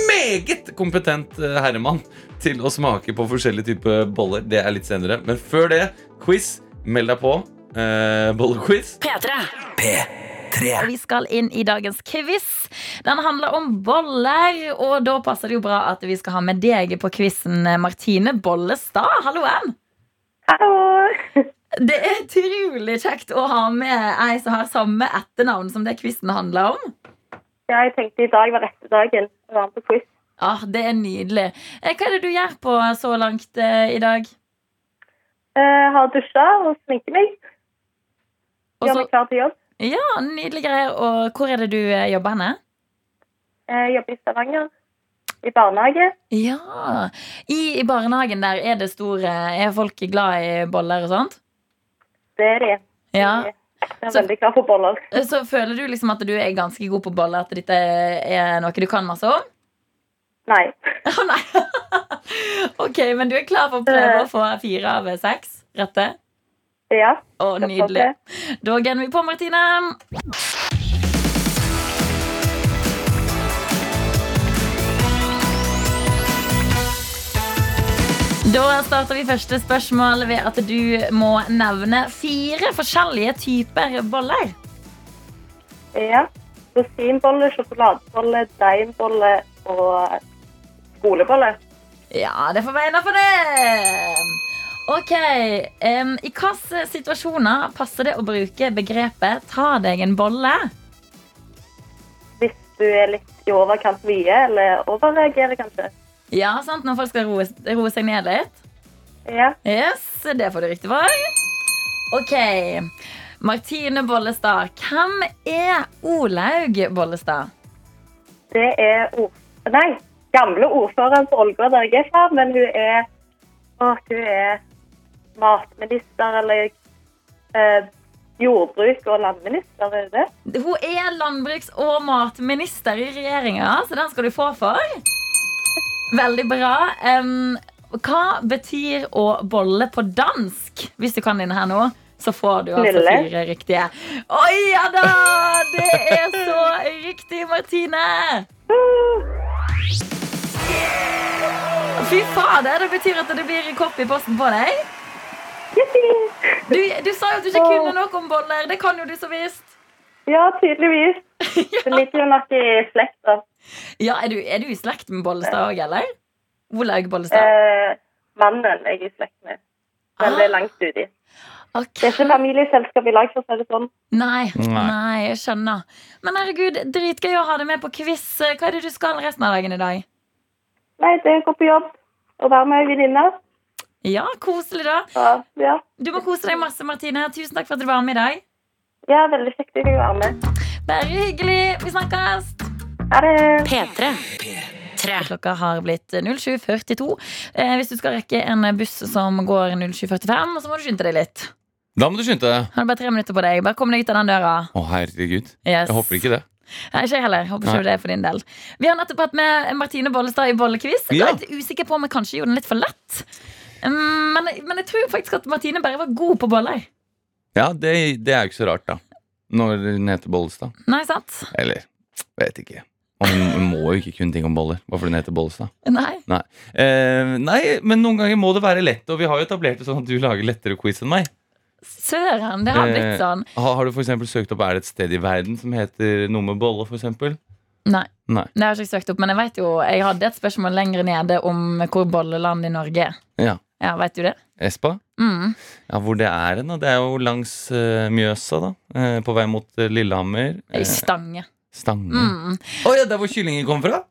meget kompetent eh, herremann til å smake på forskjellige typer boller. Det er litt senere. Men før det, quiz. Meld deg på. Eh, bollequiz.
P3
Og vi skal inn i dagens quiz. Den handler om boller, og da passer det jo bra at vi skal ha med deg på quizen, Martine Bollestad. Halloen!
Hallo!
Det er utrolig kjekt å ha med ei som har samme etternavn som det quizen handler om.
Ja, jeg tenkte i dag var rette dagen å være med på quiz.
Ah, det er nydelig. Eh, Hva er det du gjør på så langt eh, i dag?
Eh, har dusja og sminket meg.
Og
Gjør
så-
meg klar til jobb.
ja, Nydelige greier. Og hvor er det du eh, jobber henne?
Eh, jobber i Stavanger. I barnehage.
Ja, I, I barnehagen der er det store Er folk glad i boller og sånt?
Det er de.
Ja.
Jeg er
Så-
veldig klar for boller.
Så føler du liksom at du er ganske god på boller, at dette er noe du kan masse om?
Nei.
Å nei! ok, men du er klar for å prøve å få fire av seks rette?
Ja.
Å,
skal
nydelig. Da gunner vi på, Martine. Da starter vi første spørsmål ved at du må nevne fire forskjellige typer boller.
prøve. Ja. Rosinbolle, sjokoladebolle, deigbolle og skolebolle.
Ja, det får være innafor det. Ok, em, I hvilke situasjoner passer det å bruke begrepet 'ta deg en bolle'?
Hvis du er litt i overkant mye, eller overreagerer kanskje.
Ja, sant, Når folk skal roe, roe seg ned litt?
Ja.
Yes, Det får du riktig for. Ok. Martine Bollestad. Hvem er Olaug Bollestad?
Det er ord... Nei, gamle ordføreren på Ålgård, der jeg er fra, men hun er Åh, hun er matminister eller eh, jordbruk- og landminister, er det det?
Hun er landbruks- og matminister i regjeringa, så den skal du få for. Veldig bra. Em, hva betyr å bolle på dansk? Hvis du kan denne her nå, så får du altså
Knulle.
fire riktige. Oi, ja da! Det er så riktig, Martine! Fy fader, det betyr at det blir kopp i posten på deg. Du, du sa jo at du ikke kunne noe om boller. Det kan jo du så visst.
Ja, tydeligvis. Det ligger jo nok i slekta.
Ja, er du, er du i slekt med Bollestad òg, eller? Olaug Bollestad.
Eh, mannen jeg er i slekt med. Veldig langt uti.
Ok.
Det er ikke familieselskap i lag, for å si det sånn.
Nei,
Nei.
nei, jeg skjønner. Men herregud, dritgøy å ha deg med på quiz. Eh, Hva er det du skal resten av dagen i dag?
Nei, det går på jobb. Å være med ei venninne.
Ja, koselig, da.
Så, ja.
Du må kose deg masse, Martine. Tusen takk for at du var med i dag.
ja, veldig kjekt å være med.
Bare hyggelig. Vi snakkes.
Ha det.
P3.
Klokka har blitt 07.42. Eh, hvis du skal rekke en buss som går 07.45, så må du skynde deg litt.
Da må du skynde deg.
Har du bare tre minutter på deg. Bare kom deg ut av den døra.
Å, herregud.
Yes.
Jeg håper ikke det.
Nei, ikke jeg heller. Håper
Nei.
ikke det er for din del. Vi har nettopp hatt med Martine Bollestad i Bollequiz. Jeg
Ja.
er litt usikker på om jeg kanskje gjorde den litt for lett. Mm, Men, men jeg tror faktisk at Martine bare var god på boller.
Ja, det, det er jo ikke så rart, da. Når den heter Bollestad.
Nei, sant?
Eller vet ikke. Og Hun må jo ikke kunne ting om boller. Hvorfor hun heter Bollestad.
Nei.
Eh, nei, men noen ganger må det være lett, og vi har jo etablert det sånn at du lager lettere quiz enn meg.
Søren, det har blitt
Eh.
sånn.
Har, har du for eksempel søkt opp Er det et sted i verden som heter noe med bolle, for eksempel?
Nei.
Nei.
Det har jeg ikke søkt opp, men jeg vet jo Jeg hadde et spørsmål lenger nede om hvor bolleland i Norge er.
Ja.
Ja, vet du det?
Espa?
Mm.
Ja, hvor det er hen, da? Det er jo langs eh, Mjøsa, da. Eh, på vei mot eh, Lillehammer.
I
Eh,
Stange.
Stange. Å
Mm.
ja, der hvor kyllingen kom fra?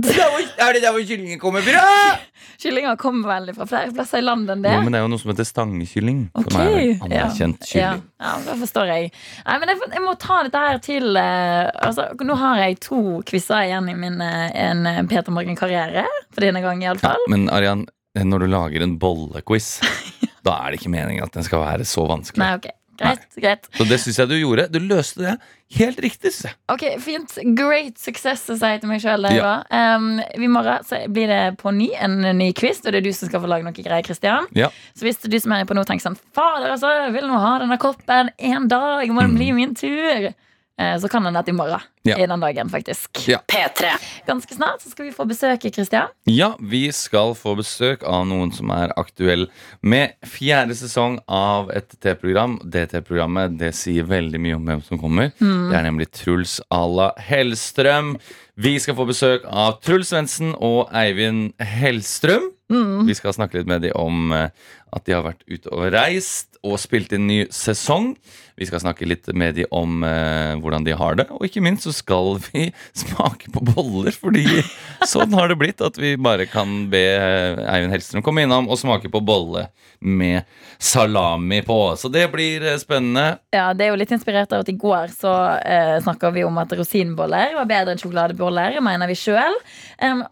Det er hvor- er det der hvor kyllingen kommer fra?
Kyllinger kommer vel fra flere plasser i landet enn det.
Jo, men det er jo noe som heter stangekylling.
Ok,
Som er en
ja.
anerkjent
Ja,
kylling.
ja, det forstår jeg. Nei, men jeg, jeg må ta dette her til eh, altså, Nå har jeg to quizer igjen i min eh, en eh, Peter Morgen-karriere. For denne gangen,
Ja,
iallfall.
men Arian, eh, når du lager en bollequiz, da er det ikke meningen at den skal være så vanskelig.
Nei, ok. Greit. greit
Så det syns jeg du gjorde. Du løste det helt riktig. Synes jeg.
Ok, Fint. Great success, sier jeg til meg sjøl.
Ja.
Ehm, I morgen så blir det på ny en ny quiz, og det er du som skal få lage noe greier. Kristian
Ja.
Så hvis du som er på nå tenker sånn Fader, altså, jeg vil nå ha denne koppen en dag, må det bli min tur? Eh, Så kan den dette i morgen.
Mm. Ja.
I den dagen, faktisk.
Ja.
P3.
Ganske snart så skal vi få besøk av Kristian.
Ja, vi skal få besøk av noen som er aktuell med fjerde sesong av et T-program. Det T-programmet det sier veldig mye om hvem som kommer. Det er nemlig Truls à la Hellstrøm. Vi skal få besøk av Truls Svendsen og Eivind Hellstrøm. Vi skal snakke litt med dem om eh, at de har vært ute og reist og spilt inn ny sesong. Vi skal snakke litt med de om eh, hvordan de har det, og ikke minst så skal vi smake på boller, fordi sånn har det blitt at vi bare kan be eh, Eivind Hellstrøm komme innom og smake på bolle med salami på. Så det blir eh, spennende.
Ja, Det er jo litt inspirert av at i går så eh, snakka vi om at rosinboller var bedre enn sjokoladeboller, mener vi sjøl.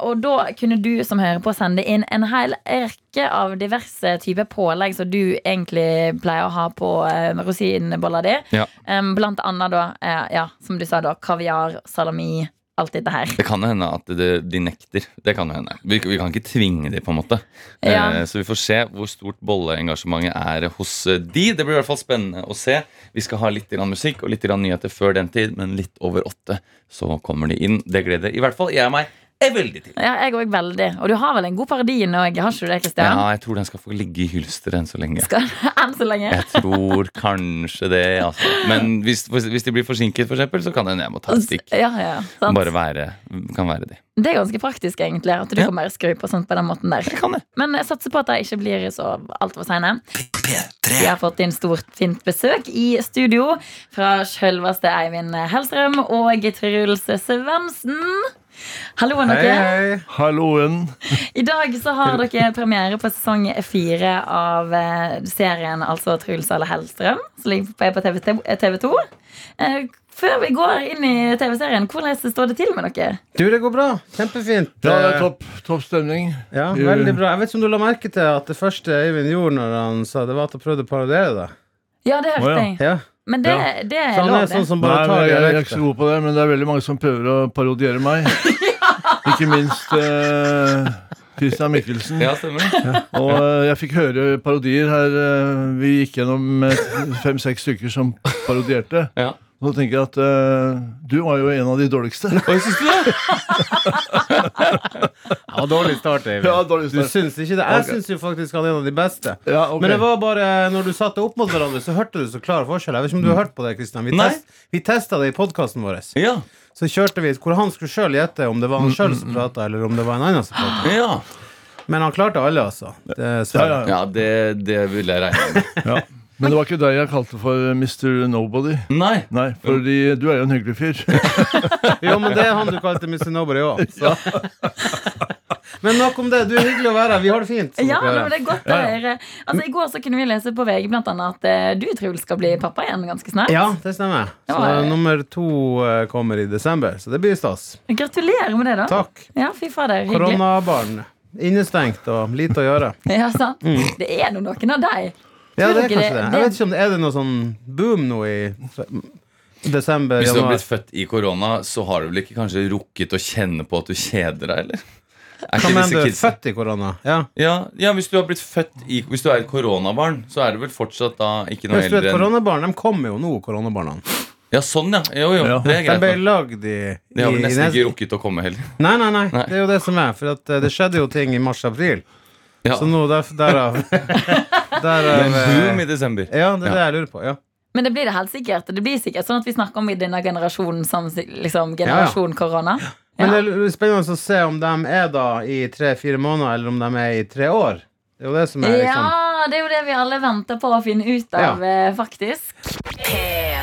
og da kunne du som hører på, sende inn en hel rekke av diverse typer pålegg som du egentlig pleier å ha på eh, rosinbolla di.
Ja.
Em, blant annet da, eh, ja, som du sa, da, kaviar, salami, alt dette her.
Det kan jo hende at det, de nekter. Det kan jo hende. Vi, vi kan ikke tvinge de på en måte.
Ja.
Eh, så vi får se hvor stort bolleengasjementet er hos eh, de. Det blir i hvert fall spennende å se. Vi skal ha litt grann musikk og litt grann nyheter før den tid, men litt over åtte så kommer de inn. Det gleder i hvert fall jeg meg er veldig til.
Ja, jeg òg veldig. Og du har vel en god parodi nå, har ikke du det, Kristian?
Ja, jeg tror den skal få ligge i hylsteret enn så lenge.
Enn så lenge.
Jeg tror kanskje det, altså. Men hvis, hvis de blir forsinket, for eksempel, så kan det hende jeg må ta et stikk.
Ja, ja, sant.
Bare være, kan være de.
Det er ganske praktisk, egentlig. At du
Ja.
kan bare skru på sånt på den måten der.
Jeg kan det.
Men jeg satser på at jeg ikke blir så altfor seine. Vi
P3.
har fått inn stort fint besøk i studio fra selveste Eivind Hellstrøm og Truls Svendsen. Hallo, dere.
hei. Halloen.
I dag så har dere premiere på sesong fire av eh, serien altså Truls alle Hellstrøm, som ligger på- på TV 2. Eh, Før vi går inn i TV-serien, hvordan står det til med dere?
Du, det går bra. Kjempefint.
Ja, det er topp, topp stemning.
Eh, Ja, veldig bra. Jeg vet ikke om du la merke til at det første Øyvind gjorde når han sa det, var at han prøvde å parodiere deg.
Ja, det hørte
Å, ja.
jeg.
Ja.
Men det,
Ja.
det er
Så han
lov,
er
Eh, det.
sånn som
Nei,
bare
men
tar
jeg, jeg er ikke så
dialekter.
god på det, men det er veldig mange som prøver å parodiere meg. Ikke minst eh, Christian Mikkelsen.
Ja, stemmer.
Og eh, jeg fikk høre parodier her. eh, vi gikk gjennom eh, fem-seks stykker som parodierte.
Ja.
Og så tenker jeg at eh, du var jo en av de dårligste.
Oi, syns du det?
Det var dårlig start,
Ja,
Øyvind. Du
dårligste.
syns ikke det? Jeg
Ok.
syns jo faktisk han er en av de beste.
Ja, ok.
Men det var bare når du satte opp mot hverandre, så hørte du så klar forskjell. Jeg vet ikke om du
Mm.
har hørt på det, Kristian. Vi,
Nei.
test, vi testa det i podkasten vår.
Ja.
Så kjørte vi hvor han skulle sjøl gjette om det var han
Mm,
sjøl som prata, eller om det var en annen som prata.
ja.
Men han klarte alle, altså. Dessverre.
Ja,
Ja, det, det vil jeg regne med.
ja. Men det var ikke deg jeg kalte for Mr. Nobody.
Nei.
Nei, fordi du er jo en hyggelig fyr.
Jo, men det er han du kalte Mr. Nobody òg. Men nok om det. Du er hyggelig å være her. Vi har det fint. som
Ja,
dere hører.
men det er godt å
Ja, ja.
høre. Altså, I går så kunne vi lese på VG blant annet at eh, du, Truls, skal bli pappa igjen ganske snart.
ja, det stemmer. Så
Ja, ja.
nummer to eh, kommer i desember, så det blir stas.
Gratulerer med det, da.
Takk.
Ja, fy fader. Hyggelig.
Koronabarn. Innestengt og lite å gjøre.
Ja, sant?
Mm.
Det er nå noen av deg.
Ja,
Tror
det
dere
er kanskje det.
det-
Jeg vet ikke om det Er det noe sånn boom nå i desember?
Hvis du har
januar?
blitt født i korona, så har du vel ikke kanskje rukket å kjenne på at du kjeder deg, eller? Er
Hva
ikke
mener
disse
du?
kidsa
Født i korona? Ja.
ja, ja, hvis du har blitt født i Hvis du er et koronabarn, så er du vel fortsatt da ikke noe
Hvis du er
eldre
et
enn
koronabarn, de kommer jo nå, koronabarna.
Ja, sånn, ja. Jo, jo.
Ja.
Det er
De ble
greit. da.
lagd i,
De har vel nesten
nes-
ikke rukket å komme heller.
Nei, nei, nei,
Nei.
Det er jo det som er. For at eh, det skjedde jo ting i mars-april.
Ja.
Så nå der, derav
Det
Derav
er
eh,
boom i desember.
Ja, det er det jeg lurer på. Ja.
Men det blir det helt sikkert. Det blir sikkert sånn at vi snakker om i denne generasjonen som si- liksom,
ja.
generasjon korona.
Men
Ja.
det er spennende å se om de er da i tre-fire måneder, eller om de er i tre år. Det er jo det som er liksom
Ja, det er jo det vi alle venter på å finne ut av,
Ja.
eh, faktisk.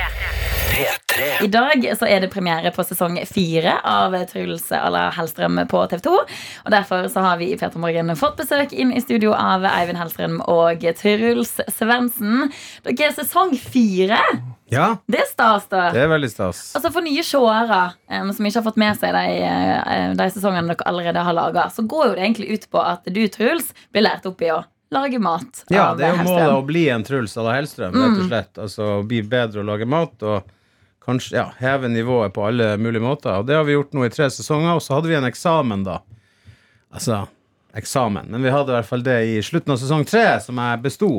P3
I dag så er det premiere på sesong fire av Truls Ala Hellstrøm på TV 2. Og derfor så har vi i Peter Morgen fått besøk inn i studio av Eivind Hellstrøm og Truls Svendsen. Dere er sesong fire!
Ja,
Det er stas, da.
det er veldig stas.
Altså For nye seere em, som ikke har fått med seg de, eh, de sesongene dere allerede har laga, så går jo det egentlig ut på at du, Truls, blir lært opp i å lage mat.
Ja,
av
det er jo
Hellstrøm.
målet å bli en Truls à la Hellstrøm, rett og slett. Altså bli bedre å lage mat og kanskje ja, heve nivået på alle mulige måter. Og det har vi gjort nå i tre sesonger, og så hadde vi en eksamen, da. Altså eksamen. Men vi hadde i hvert fall det i slutten av sesong tre, som jeg besto.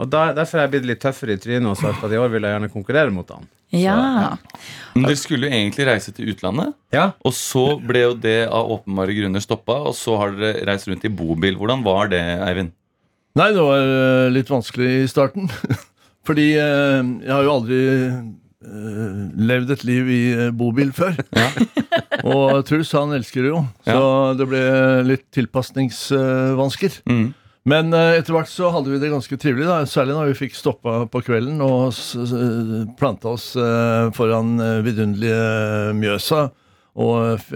Og der, derfor er jeg blitt litt tøffere i trynet og sagt at i år vil jeg gjerne konkurrere mot han.
Ja.
Men dere skulle jo egentlig reise til utlandet,
Ja.
og så ble jo det av åpenbare grunner stoppa, og så har dere reist rundt i bobil. Hvordan var det, Eivind?
Nei, det var eh, litt vanskelig i starten. Fordi eh, jeg har jo aldri eh, levd et liv i eh, bobil før. Og Truls, han elsker det jo. Så det ble litt tilpasningsvansker.
Mm.
Men eh, etter hvert så hadde vi det ganske trivelig, da. særlig når vi fikk stoppa på kvelden og s- s- planta oss eh, foran eh, vidunderlige Mjøsa. Og eh, f-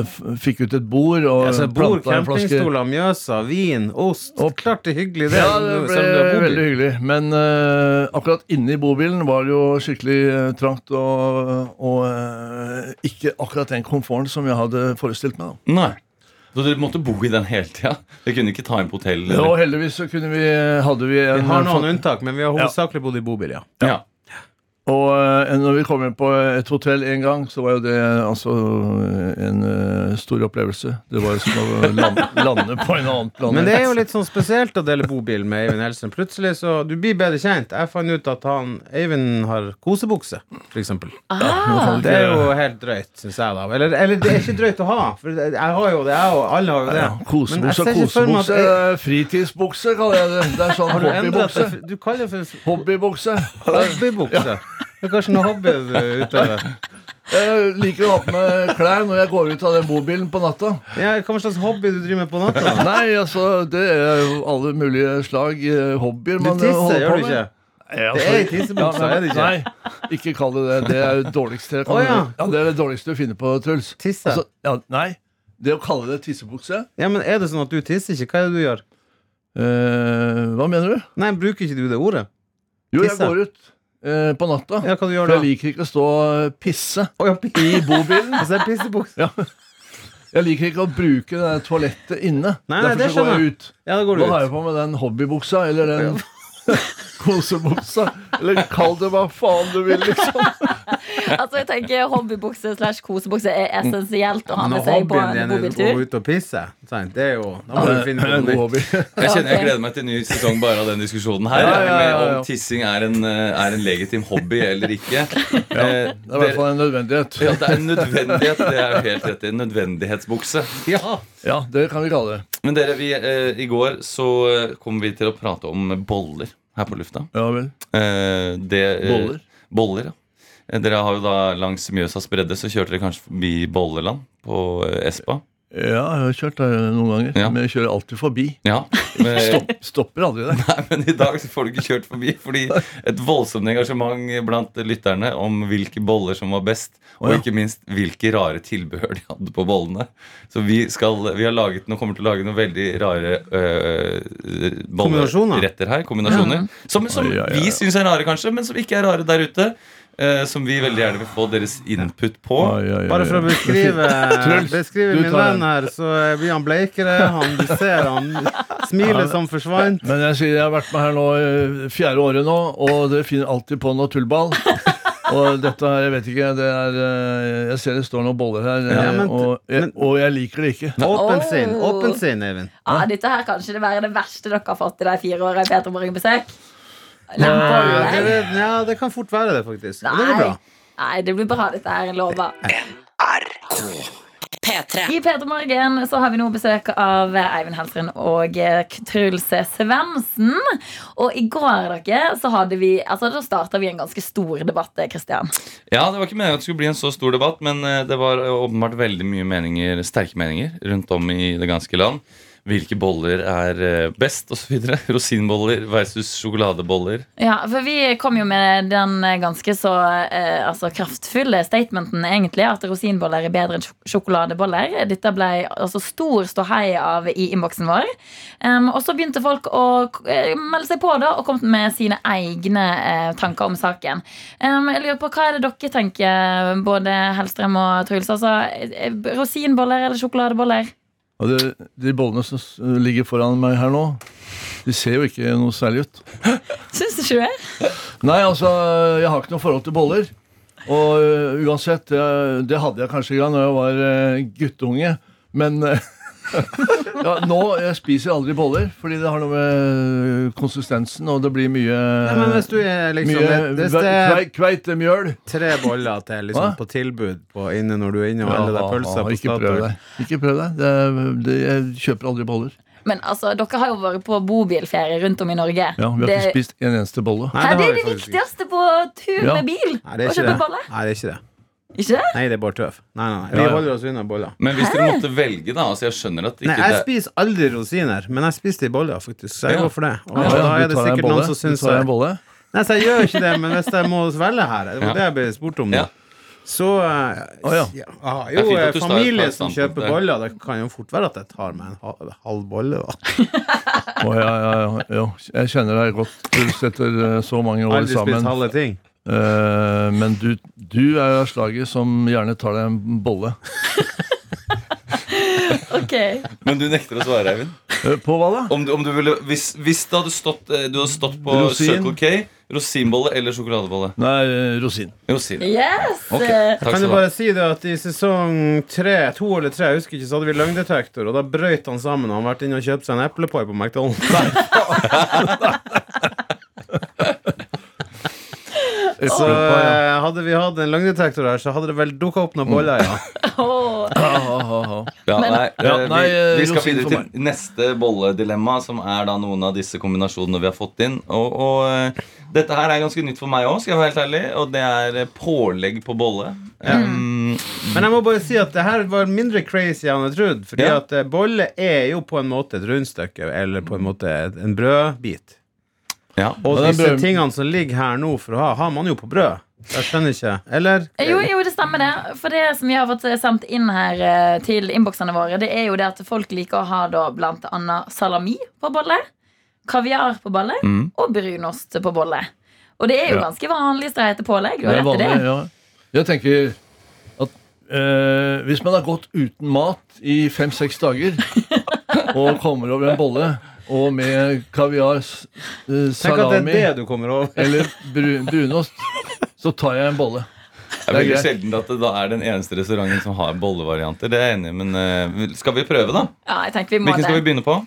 f fikk ut et bord og
Altså, bord,
planta en flaske
campingstoler, Mjøsa, vin, ost.
Opp.
Klart det er hyggelig, det.
Ja, det
selv om
ble
du har bobil.
veldig hyggelig. Men eh, akkurat inne i bobilen var det jo skikkelig eh, trangt og, og eh, ikke akkurat den komforten som jeg hadde forestilt meg. Da.
Nei. Så dere måtte bo i den hele tida? Dere kunne ikke ta inn på hotell? eller-
Og heldigvis så kunne vi, hadde vi en
Vi har noen unntak, men vi har
Ja.
hovedsakelig bodd i bobil, ja.
Ja.
Og eh, når vi kom inn på et hotell en gang, så var jo det eh, altså en eh, stor opplevelse. Det var som å lande, lande på en annen planet.
Men det er jo litt sånn spesielt å dele bobil med Eivind Helsen. Plutselig så Du blir bedre kjent. Jeg fant ut at han Eivind har kosebukse, for eksempel.
Ah,
sånn, Det er jo helt drøyt, syns jeg, da. Eller, eller det er ikke drøyt å ha, for jeg har jo det, jeg og Alle har jo det.
ja, kosebukse,
Men jeg ser ikke for meg at
kosebukse. eh, Fritidsbukse, kaller jeg det. Det er sånn
Har du endret
hobbybukse.
det? Du kaller det for
Hobbybukse.
hobbybukse. Det er kanskje noe hobby du utøver.
Jeg liker å ha på meg klær når jeg går ut av den bobilen på natta.
Ja, hva slags hobby du driver med på natta? da?
Nei, altså, det er jo alle mulige slag eh, hobbyer
Du
man
tisser,
holder på
gjør du
med.
ikke?
Nei, altså,
Det er i tissebuksa, er det ikke?
Nei, ikke kall det det. Det er det dårligste jeg kan
Å, ja.
ja, Det er det dårligste du finner på, Truls.
Tisse?
Altså, ja, nei, det å kalle det tissebukse
Ja, men er det sånn at du tisser ikke? Hva er det du gjør?
eh, Hva mener du?
Nei, bruker ikke du det ordet?
Jo, jeg
Tisse.
går ut eh, på natta.
Ja, hva du
For
gjør
jeg
da?
liker ikke å stå og pisse
Å, ja, pi-
i bobilen.
Altså, det er pissebukse.
Jeg liker ikke å bruke det der toalettet inne.
Nei, nei, det
Derfor så går jeg ut.
Ja, da går du
Nå har jeg
ut.
på meg den hobbybuksa, eller den kosebuksa. Eller kall det hva faen du vil, liksom.
altså jeg tenker Hobbybukse slash kosebukse er essensielt å ha
Når
med seg på
hobbyen
en
din er å
bobiltur.
gå ut og pisse, sant? det er jo Da må du finne på noe
En Eh, god
nytt.
hobby.
Jeg kjenner jeg gleder meg til en ny sesong bare av den diskusjonen her.
Ja, ja, ja, ja.
Med om tissing er en, eh, er en legitim hobby eller ikke. Eh,
Det er i hvert fall en nødvendighet.
ja, det er en nødvendighet. Det er jo helt rett i. En nødvendighetsbukse.
Ja.
Ja, det kan vi kalle det.
Men dere, vi, eh, i går så eh, kom vi til å prate om boller her på lufta.
Ja vel.
Eh, det, eh,
Boller?
Boller, ja. Eh, Dere har jo da langs Mjøsas bredde så kjørte dere kanskje forbi Bolleland på eh, Espa.
Ja, jeg har kjørt der noen ganger.
Ja.
Men jeg kjører alltid forbi.
Ja, men,
Stopp, stopper aldri der.
Nei, men i dag så får du ikke kjørt forbi Fordi et voldsomt engasjement blant lytterne Om hvilke boller som var best Og
Å, ja.
ikke minst hvilke rare tilbehør de hadde på bollene Så vi, skal, vi har laget, nå kommer til å lage noen veldig rare øh,
Kombinasjoner.
Bolleretter her, kombinasjoner Som, som
Oi, oi, oi.
vi synes er rare kanskje, men som ikke er rare der ute eh, Som vi veldig gjerne vil få deres input på
Oi, oi, oi,
Bare for å
oi.
beskrive,
Truls,
beskrive
du
min
tar-
venn her, så eh, blir han bleikere. Han du ser han smilet som forsvant.
Men jeg sier jeg har vært med her nå eh, fjerde året nå, og dere finner alltid på noe tullball. Og dette her, jeg vet ikke det er, eh, Jeg ser det står noen boller her, eh,
Ja, men-
og, jeg,
men-
og jeg liker det ikke.
Åpen sinn,
Oh.
åpen sinn, Eivind.
Ja, dette her kan ikke det være det verste dere har fått i de fire årene Peter Morgen besøk.
Ja,
Nei.
det, ja, det kan fort være det, faktisk. Og det blir bra.
Nei, det blir bra, dette her. Jeg lover.
P3.
I P3 Morgen så har vi nå besøk av Eivind Helseren og eh, Truls Svendsen. Og i går dere, så hadde vi Altså, da starta vi en ganske stor debatt, eh, Christian.
Ja, Det var ikke meningen at det skulle bli en så stor debatt, men eh, det var åpenbart veldig mye meninger, sterke meninger rundt om i det ganske land. Hvilke boller er eh, best, osv. Rosinboller versus sjokoladeboller.
Ja, for vi kom jo med den eh, ganske så eh, altså kraftfulle statementen, egentlig, at rosinboller er bedre enn sjok- sjokoladeboller. Dette ble altså stor ståhei av i innboksen vår. Em, og så begynte folk å eh, melde seg på da, og kom med sine egne eh, tanker om saken. Em, jeg lurer på, Hva er det dere tenker, både Hellstrøm og Truls? Altså, eh, eh, rosinboller eller sjokoladeboller?
Og det, de bollene som s- ligger foran meg her nå, de ser jo ikke noe særlig ut.
Syns du ikke det?
Nei, altså, jeg har ikke noe forhold til boller. Og øh, uansett, det, det hadde jeg kanskje da jeg var øh, guttunge, men øh, ja, Nå jeg spiser aldri boller, fordi det har noe med eh, konsistensen og det blir mye,
Ja, men hvis du er liksom
mye
Hvis det er
kve- kveitemjøl.
tre boller til liksom,
Hva?
på tilbud på, inne når du er inne og alle de pølser på
ikke prøv
Statoil
deg. Ikke prøv deg. Det, er- det, jeg kjøper aldri boller.
Men altså, dere har jo vært på bobilferie rundt om i Norge.
Ja, Vi har
Det-
ikke spist en eneste bolle.
Nei,
Hæ, det
har
er
vi
det
faktisk ikke.
viktigste på tur
Ja.
med bil.
Nei, det
å
er ikke
kjøpe
det.
boller.
Nei, det er ikke det.
Ikke det?
Nei, det er bare tøv. Nei, nei, nei.
Ja,
Vi
ja.
holder oss unna boller.
Men hvis dere måtte velge, da altså Jeg skjønner at ikke
Nei, jeg
det
spiser aldri rosiner, men jeg spiser de boller, faktisk. Så jeg
Ja.
går for det. Og
Ja,
da
ja,
er
du
det
tar deg en
sikkert
bolle.
noen som
Du
syns
tar deg
jeg
en bolle.
Nei, så jeg gjør ikke det, men hvis jeg må svelge her Det var
Ja.
det jeg ble spurt om, da.
Ja.
Så eh,
Å, ja.
ja. Jeg har
Det er
jo
fint at du
eh,
tar et
familie
klart
som
standpunkt
kjøper
der.
boller. Det kan jo fort være at jeg tar meg en ha- halv bolle, da.
Å, ja, ja, ja, jo, jeg kjenner deg godt Truls, etter eh, så mange år
Aldri spist
sammen.
halve ting.
Eh, men du, du er jo av slaget som gjerne tar deg en bolle.
Ok.
Men du nekter å svare, Eivind.
Eh, på hva da?
Om du, om du ville, hvis, hvis det hadde stått, eh, du hadde stått på
Rosin.
Circle K, rosinbolle eller sjokoladebolle?
Nei, eh, rosin.
Rosin.
Yes!
Ok,
Eh,
Takk
Kan
skal
jeg
du ha.
bare si det at i sesong tre, to eller tre, jeg husker ikke, så hadde vi løgndetektor, og da brøyt han sammen. og Han har vært inne og kjøpt seg en eplepai på McDonald's. Så
Eplepai,
eh, hadde vi hatt en løgndetektor her, så hadde det vel dukka
Mm.
opp noen boller, ja.
åh.
ja. Ha, ha, ha, ha.
Ja, nei,
Ja,
eh,
nei,
vi,
eh,
vi skal
rosin
videre
for
til neste bolledilemma, som er da noen av disse kombinasjonene vi har fått inn. Og, og eh, dette her er ganske nytt for meg òg, skal jeg være helt ærlig. Og det er eh, pålegg på bolle. Um,
Men jeg må bare si at det her var mindre crazy enn jeg trodde. Fordi
Ja.
at eh, bolle er jo på en måte et rundstykke, eller på en måte et- en brødbit.
ja.
Og
Ja, det er
disse
brød-
tingene som ligger her nå for å ha, har man jo på brød. Jeg skjønner ikke. Eller?
Eh, Jo, jo, det stemmer det. For det som vi har fått sendt inn her eh, til innboksene våre, det er jo det at folk liker å ha da blant annet salami på bolle, kaviar på bolle
Mm.
og brunost på bolle. Og det er jo
Ja.
ganske vanlig streite pålegg.
Det er
Og det
vanlig,
er det.
ja. Jeg tenker at eh, hvis man har gått uten mat i fem-seks dager, og kommer over en bolle, og med kaviar, s-
Tenk at det
eh,
er
salami
det du kommer over.
eller bru- brunost, så tar jeg en bolle.
Det er veldig
greit.
sjelden at det da er den eneste restauranten som har bollevarianter. Det er jeg enig i, men eh, skal vi prøve, da?
Ja, jeg tenker vi må
Hvilken skal vi
det.
begynne på?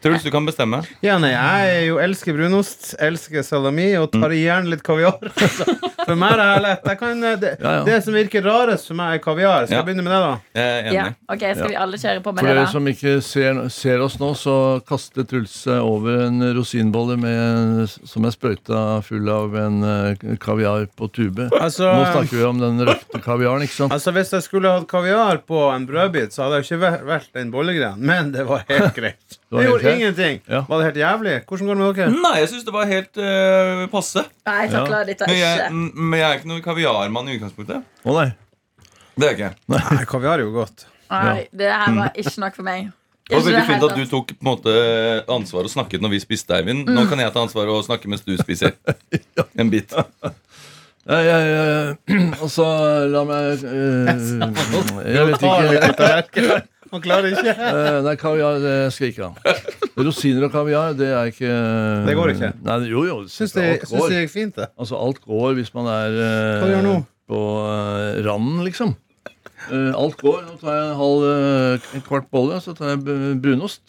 Truls, du kan bestemme.
Ja, nei, jeg er jo elsker brunost, elsker salami og tar gjerne litt kaviar. Altså, for meg er det her lett. Jeg kan, eh, det,
Ja, ja.
det som virker rarest for meg, er kaviar. Skal
Ja.
jeg begynne med det, da?
Jeg er enig.
Ja, ok, Skal vi alle kjøre på med
For
det,
dere
sånn-
da?
som ikke ser, ser oss nå, så kaster Truls seg over en rosinbolle med, som er sprøyta full av en eh, kaviar på tube.
Altså,
Nå snakker vi om den røkte kaviaren, ikke sant?
altså Hvis jeg skulle hatt kaviar på en brødbit, så hadde jeg jo ikke væ- valgt den bollegreien. Men det var helt greit.
var
Det
helt
gjorde
greit.
ingenting.
Ja.
Var det helt jævlig? Hvordan går det med dere?
Nei, jeg syns det var helt eh, passe.
Nei, jeg takler dette
Men jeg,
ikke.
n- men jeg er ikke noen kaviarmann i utgangspunktet.
Å nei.
Det er jeg ikke.
Nei, kaviar er jo godt.
Nei, det her var ikke nok for meg.
Og så
Ikke
veldig
det
fint
helt
at du tok på en måte ansvar og snakket når vi spiste, Eivind. Nå kan jeg ta ansvar og snakke mens du spiser en bit.
Jeg, jeg, jeg, altså, la meg eh, Jeg vet ikke.
Man klarer ikke.
Eh, nei, kaviar det skal jeg ikke ha. Rosiner og kaviar, det er ikke eh,
Det går ikke.
Nei, jo, jo.
Syns det
alt
syns
går.
det gikk fint, det.
Altså, alt går hvis man er eh,
Hva gjør nå?
på eh, randen, liksom. Eh, alt går. Nå tar jeg en halv, eh, en kvart bolle, så tar jeg b- brunost.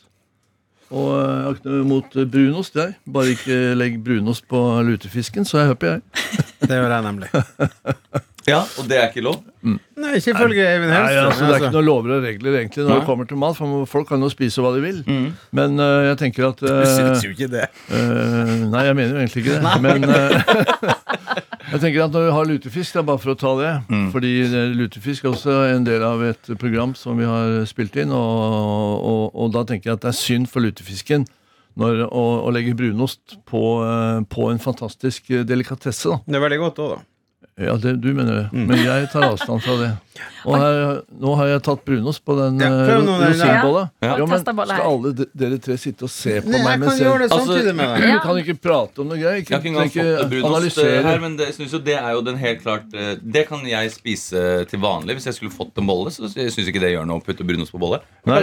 Og eh, jeg har ikke noe imot eh, brunost, jeg. Bare ikke legg brunost på lutefisken, så er jeg happy, jeg.
Det gjør jeg nemlig.
Ja, Og det er ikke lov?
Nei, ikke ifølge Eivind
Nei,
Hellstrøm.
altså, det er ikke
altså.
noen lover og regler egentlig når
Nei.
det kommer til mat. For folk kan jo spise hva de vil. Men eh, jeg tenker at eh,
jo ikke det.
Eh, nei, jeg mener jo egentlig ikke det. Men eh, jeg tenker at når vi har lutefisk, det er bare for å ta det. Fordi eh, lutefisk er også en del av et program som vi har spilt inn. Og, og, og da tenker jeg at det er synd for lutefisken når, å, å legge brunost på, eh, på en fantastisk eh, delikatesse. Da.
Det er veldig godt òg, da. Mm.
Ja, det, du mener det. Men jeg tar avstand fra det. Og her, nå har jeg tatt brunost på den
Ja,
eh,
prøv nå den der.
rosinbolla.
Ja.
Jo, men
Testa bolla her.
skal alle de, dere tre sitte og se på
Nei,
meg
jeg
mens
kan
jeg
gjøre det samtidig
Altså,
med
du
deg.
kan ikke prate om noe gøy.
Jeg har
Ikke,
ikke engang
ikke
fått brunost eh,
analysere.
her, men det, jeg synes jo det er jo den helt klart eh, Det kan jeg spise til vanlig hvis jeg skulle fått en bolle. Så jeg syns ikke det gjør noe å putte brunost på bolle.
Nei.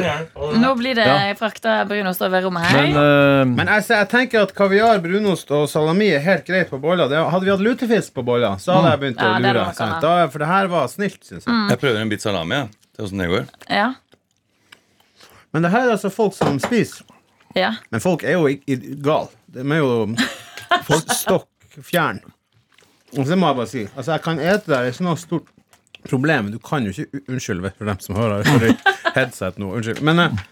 Nå blir det
Ja.
frakta brunost over rommet
Men,
her.
eh,
Men jeg, ser- jeg tenker at kaviar, brunost og salami er helt greit på boller. Det, hadde vi hatt lutefisk på boller, så hadde jeg begynt å
Ja, det Mm. er
lure.
noe
sant?
annet.
Da, for det her var snilt, syns jeg.
Jeg prøver en bit salami. Ja. Det er hvordan det går.
Ja.
Men det her er altså folk som spiser.
ja.
Men folk er jo ikke gale. De er jo folk stokk fjern. Og så må jeg bare si Altså, jeg kan ete det, her, det er ikke noe stort problem. men Du kan jo ikke Unnskyld vet du, for dem som hører sorry, headset nå. Unnskyld. Men eh,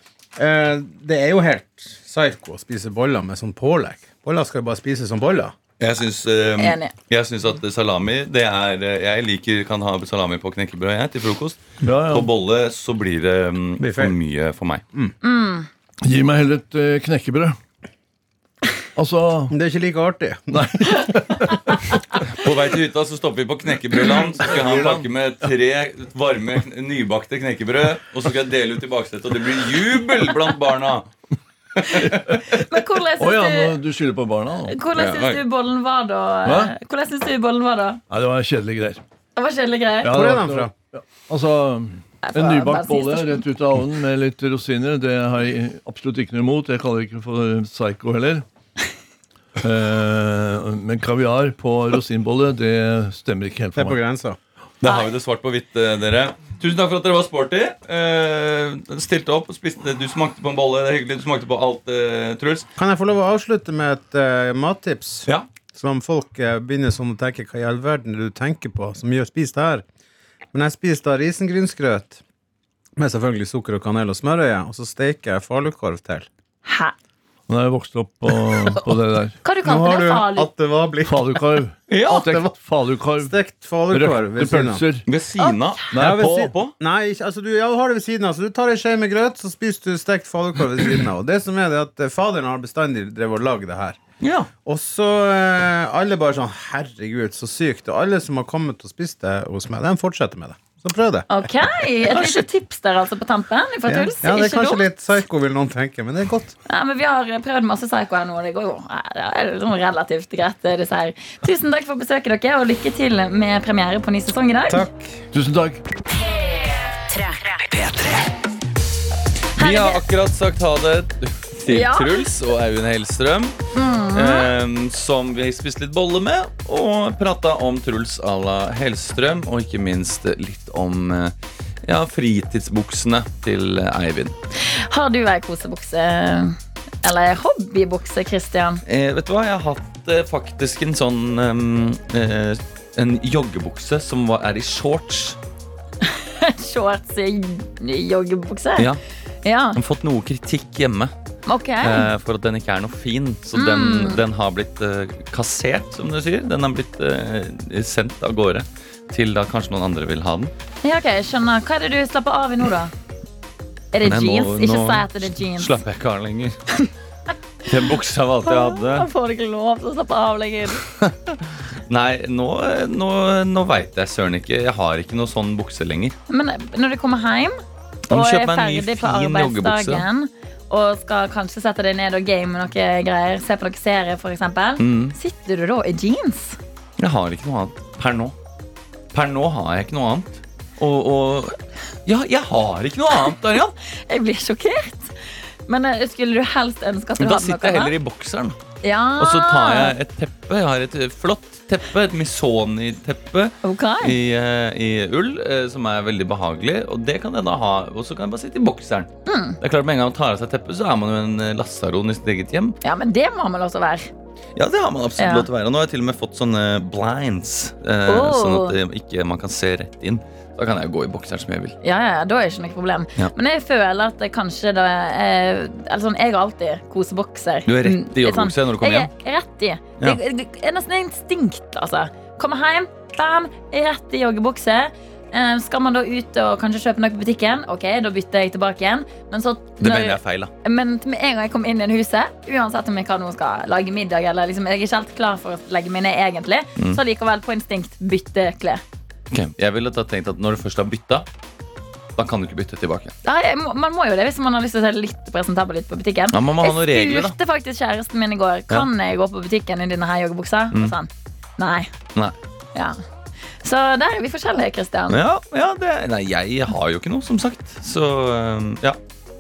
eh, det er jo helt psycho å spise boller med sånn pålegg. Boller skal jo bare spises som boller.
Jeg syns,
Enig.
jeg syns at salami det er eh, Jeg liker kan ha salami på knekkebrød jeg, til frokost.
ja,
På bolle så blir det mm,
Blir feil.
for mye for meg.
ja. Gi meg heller et eh, knekkebrød. Altså
Men det er ikke like artig.
På vei til hytta så stopper vi på knekkebrødland. Så skal jeg ha en pakke med tre varme, kn- nybakte knekkebrød. Og så skal jeg dele ut i baksetet, og det blir jubel blant barna.
Men hvordan
Å ja, nå-
syns
du skylder på barna? nå.
du Hvordan
Ja,
syns du bollen var da?
Hva?
Hvordan syns du bollen var da?
Nei, det var kjedelige greier.
Det var kjedelige greier.
Ja,
Hvor
det
er
var
den
ikke
fra?
noe- Altså,
Jeg
en
får
nybakt bolle
bensinstasjon.
rett ut av ovnen med litt rosiner, det har jeg absolutt ikke noe imot. Jeg kaller det ikke for psycho heller. Eh, men kaviar på rosinbolle, det stemmer ikke helt
Det
for
er på
meg.
grensa.
Da har vi det svart på hvitt, eh, dere. Tusen takk for at dere var sporty. Eh, stilte opp og spiste. Du smakte på en bolle. Det er hyggelig. Du smakte på alt, eh, Truls.
Kan jeg få lov å avslutte med et eh, mattips?
Ja.
Som folk eh, begynner sånn å tenke Hva i all verden er det du tenker på som gjør spis det her? Men jeg spiser da risengrynsgrøt med selvfølgelig sukker og kanel og smørøye, og så steker jeg falukorv til.
Hæ?
Nå er jeg vokst opp på, på det der.
Hva du
Nå
kalte
har
du
du
det? Falu?
at det var blitt
Falukorv.
Ja,
det var-
Stekt falukorv.
stekt falukorv
Røkte
ved siden av.
pølser.
Ved siden av.
Nei,
Ja, ved
på,
siden-
på.
Nei, ikke, altså du, ja, du har det ved siden av. Så du tar ei skje med grøt, så spiser du stekt falukorv ved siden av. Og det som er det er at eh, faderen har bestandig drevet og lagd det her.
Ja.
Og så eh, alle bare sånn Herregud, så sykt. Og alle som har kommet og spist det hos meg, den fortsetter med det. Så prøv det.
Ok, Et lite tips der altså på tampen. Fra
Ja,
Truls.
ja, det er
ikke
kanskje
dumt.
litt psycho, vil noen tenke, men det er godt.
Ja, men vi har prøvd masse psycho her nå. og Det går jo ja, det er jo sånn relativt greit. det er disse her. Tusen takk for besøket dere, og lykke til med premiere på ny sesong i dag.
Takk.
Tusen takk.
Vi har akkurat sagt ha det til
Ja.
Truls og Aun Hellstrøm. eh, som vi spiste litt bolle med. Og prata om Truls à la Hellstrøm, og ikke minst litt om eh, ja, fritidsbuksene til Eivind.
Har du ei kosebukse, eh, Eller hobbybukse, Christian?
Eh, vet du hva, jeg har hatt eh, faktisk en sånn ehm, eh, En joggebukse som var, er i shorts.
Shorts i joggebukse?
Ja,
Ja,
jeg har fått noe kritikk hjemme
ok.
eh, for at den ikke er noe fin. Så den,
Mm.
den har blitt eh, kassert, som du sier. Den har blitt eh, sendt av gårde til da kanskje noen andre vil ha den.
Ja, ok, jeg skjønner. Hva er det du slapper av i nå, da? Er det
Nei, nå-
jeans? Ikke
nå
si at det er jeans.
Slapp jeg ikke av lenger. Den buksa var alt jeg hadde.
Da får du ikke lov til å slappe av lenger.
Nei, nå, nå, nå veit jeg søren ikke. Jeg har ikke noe sånn bukse lenger.
Men når du kommer hjem
må
og er
kjøpe meg en ny,
ferdig på
fin joggebukse.
arbeidsdagen og skal kanskje sette deg ned og game noe greier, se på noen serie for eksempel,
Mm.
sitter du da i jeans?
Jeg har ikke noe annet per nå. Per nå har jeg ikke noe annet. Og, og Ja, jeg har ikke noe annet, Arian!
Jeg blir sjokkert. Men eh, skulle du helst ønske at du hadde
Da
noe
sitter jeg
annet?
heller i bokseren.
Ja.
Og så tar
Ah.
jeg et teppe. Jeg har et eh, flott teppe, et Misoni-teppe
Ok.
i, eh, i ull, eh, som er veldig behagelig. Og det kan jeg da ha. Og så kan jeg bare sitte i bokseren. Det er klart Med en gang man tar av seg teppet, så er man jo en eh, lasaron i sitt eget hjem.
Ja, men det må man lov til å være.
Ja, det har man absolutt
Ja.
lov til å være. Og nå har jeg til og med fått sånne blinds, eh,
Oh.
sånn at eh, ikke man kan se rett inn. Da kan jeg gå i bokseren som jeg vil.
Ja, ja, ja, da er det ikke noe problem.
Ja.
Men jeg føler at det kanskje da eh, eller sånn, Jeg har alltid kosebokser.
Du er rett i
Mm, litt sånn.
joggebukse når du kommer
jeg er Rett i.
Ja.
Det, det er nesten instinkt, altså. Kommer hjem, bam, rett i joggebukse. Eh, skal man da ut og kanskje kjøpe noe på butikken, Ok, da bytter jeg tilbake igjen. Men, så,
Det
når-
mener jeg er feil, da.
men med en gang jeg kom inn i huset, uansett om jeg hva nå skal lage middag, eller liksom, jeg er ikke helt klar for å legge meg ned egentlig,
Mm.
så likevel på instinkt bytte klær.
Ok, Jeg ville da tenkt at når du først har bytta, da kan du ikke bytte tilbake.
Nei, jeg må- man må jo det hvis man har lyst til å se litt presentabel ut på butikken.
Ja, man må ha noen regler,
jeg
da.
spurte faktisk kjæresten min i går Kan jeg gå på butikken i denne her joggebuksa.
Mm.
Og sånn, nei.
Nei.
Ja. Så der er vi forskjellige, Kristian.
Ja, ja det, nei, jeg har jo ikke noe, som sagt. Så eh, ja.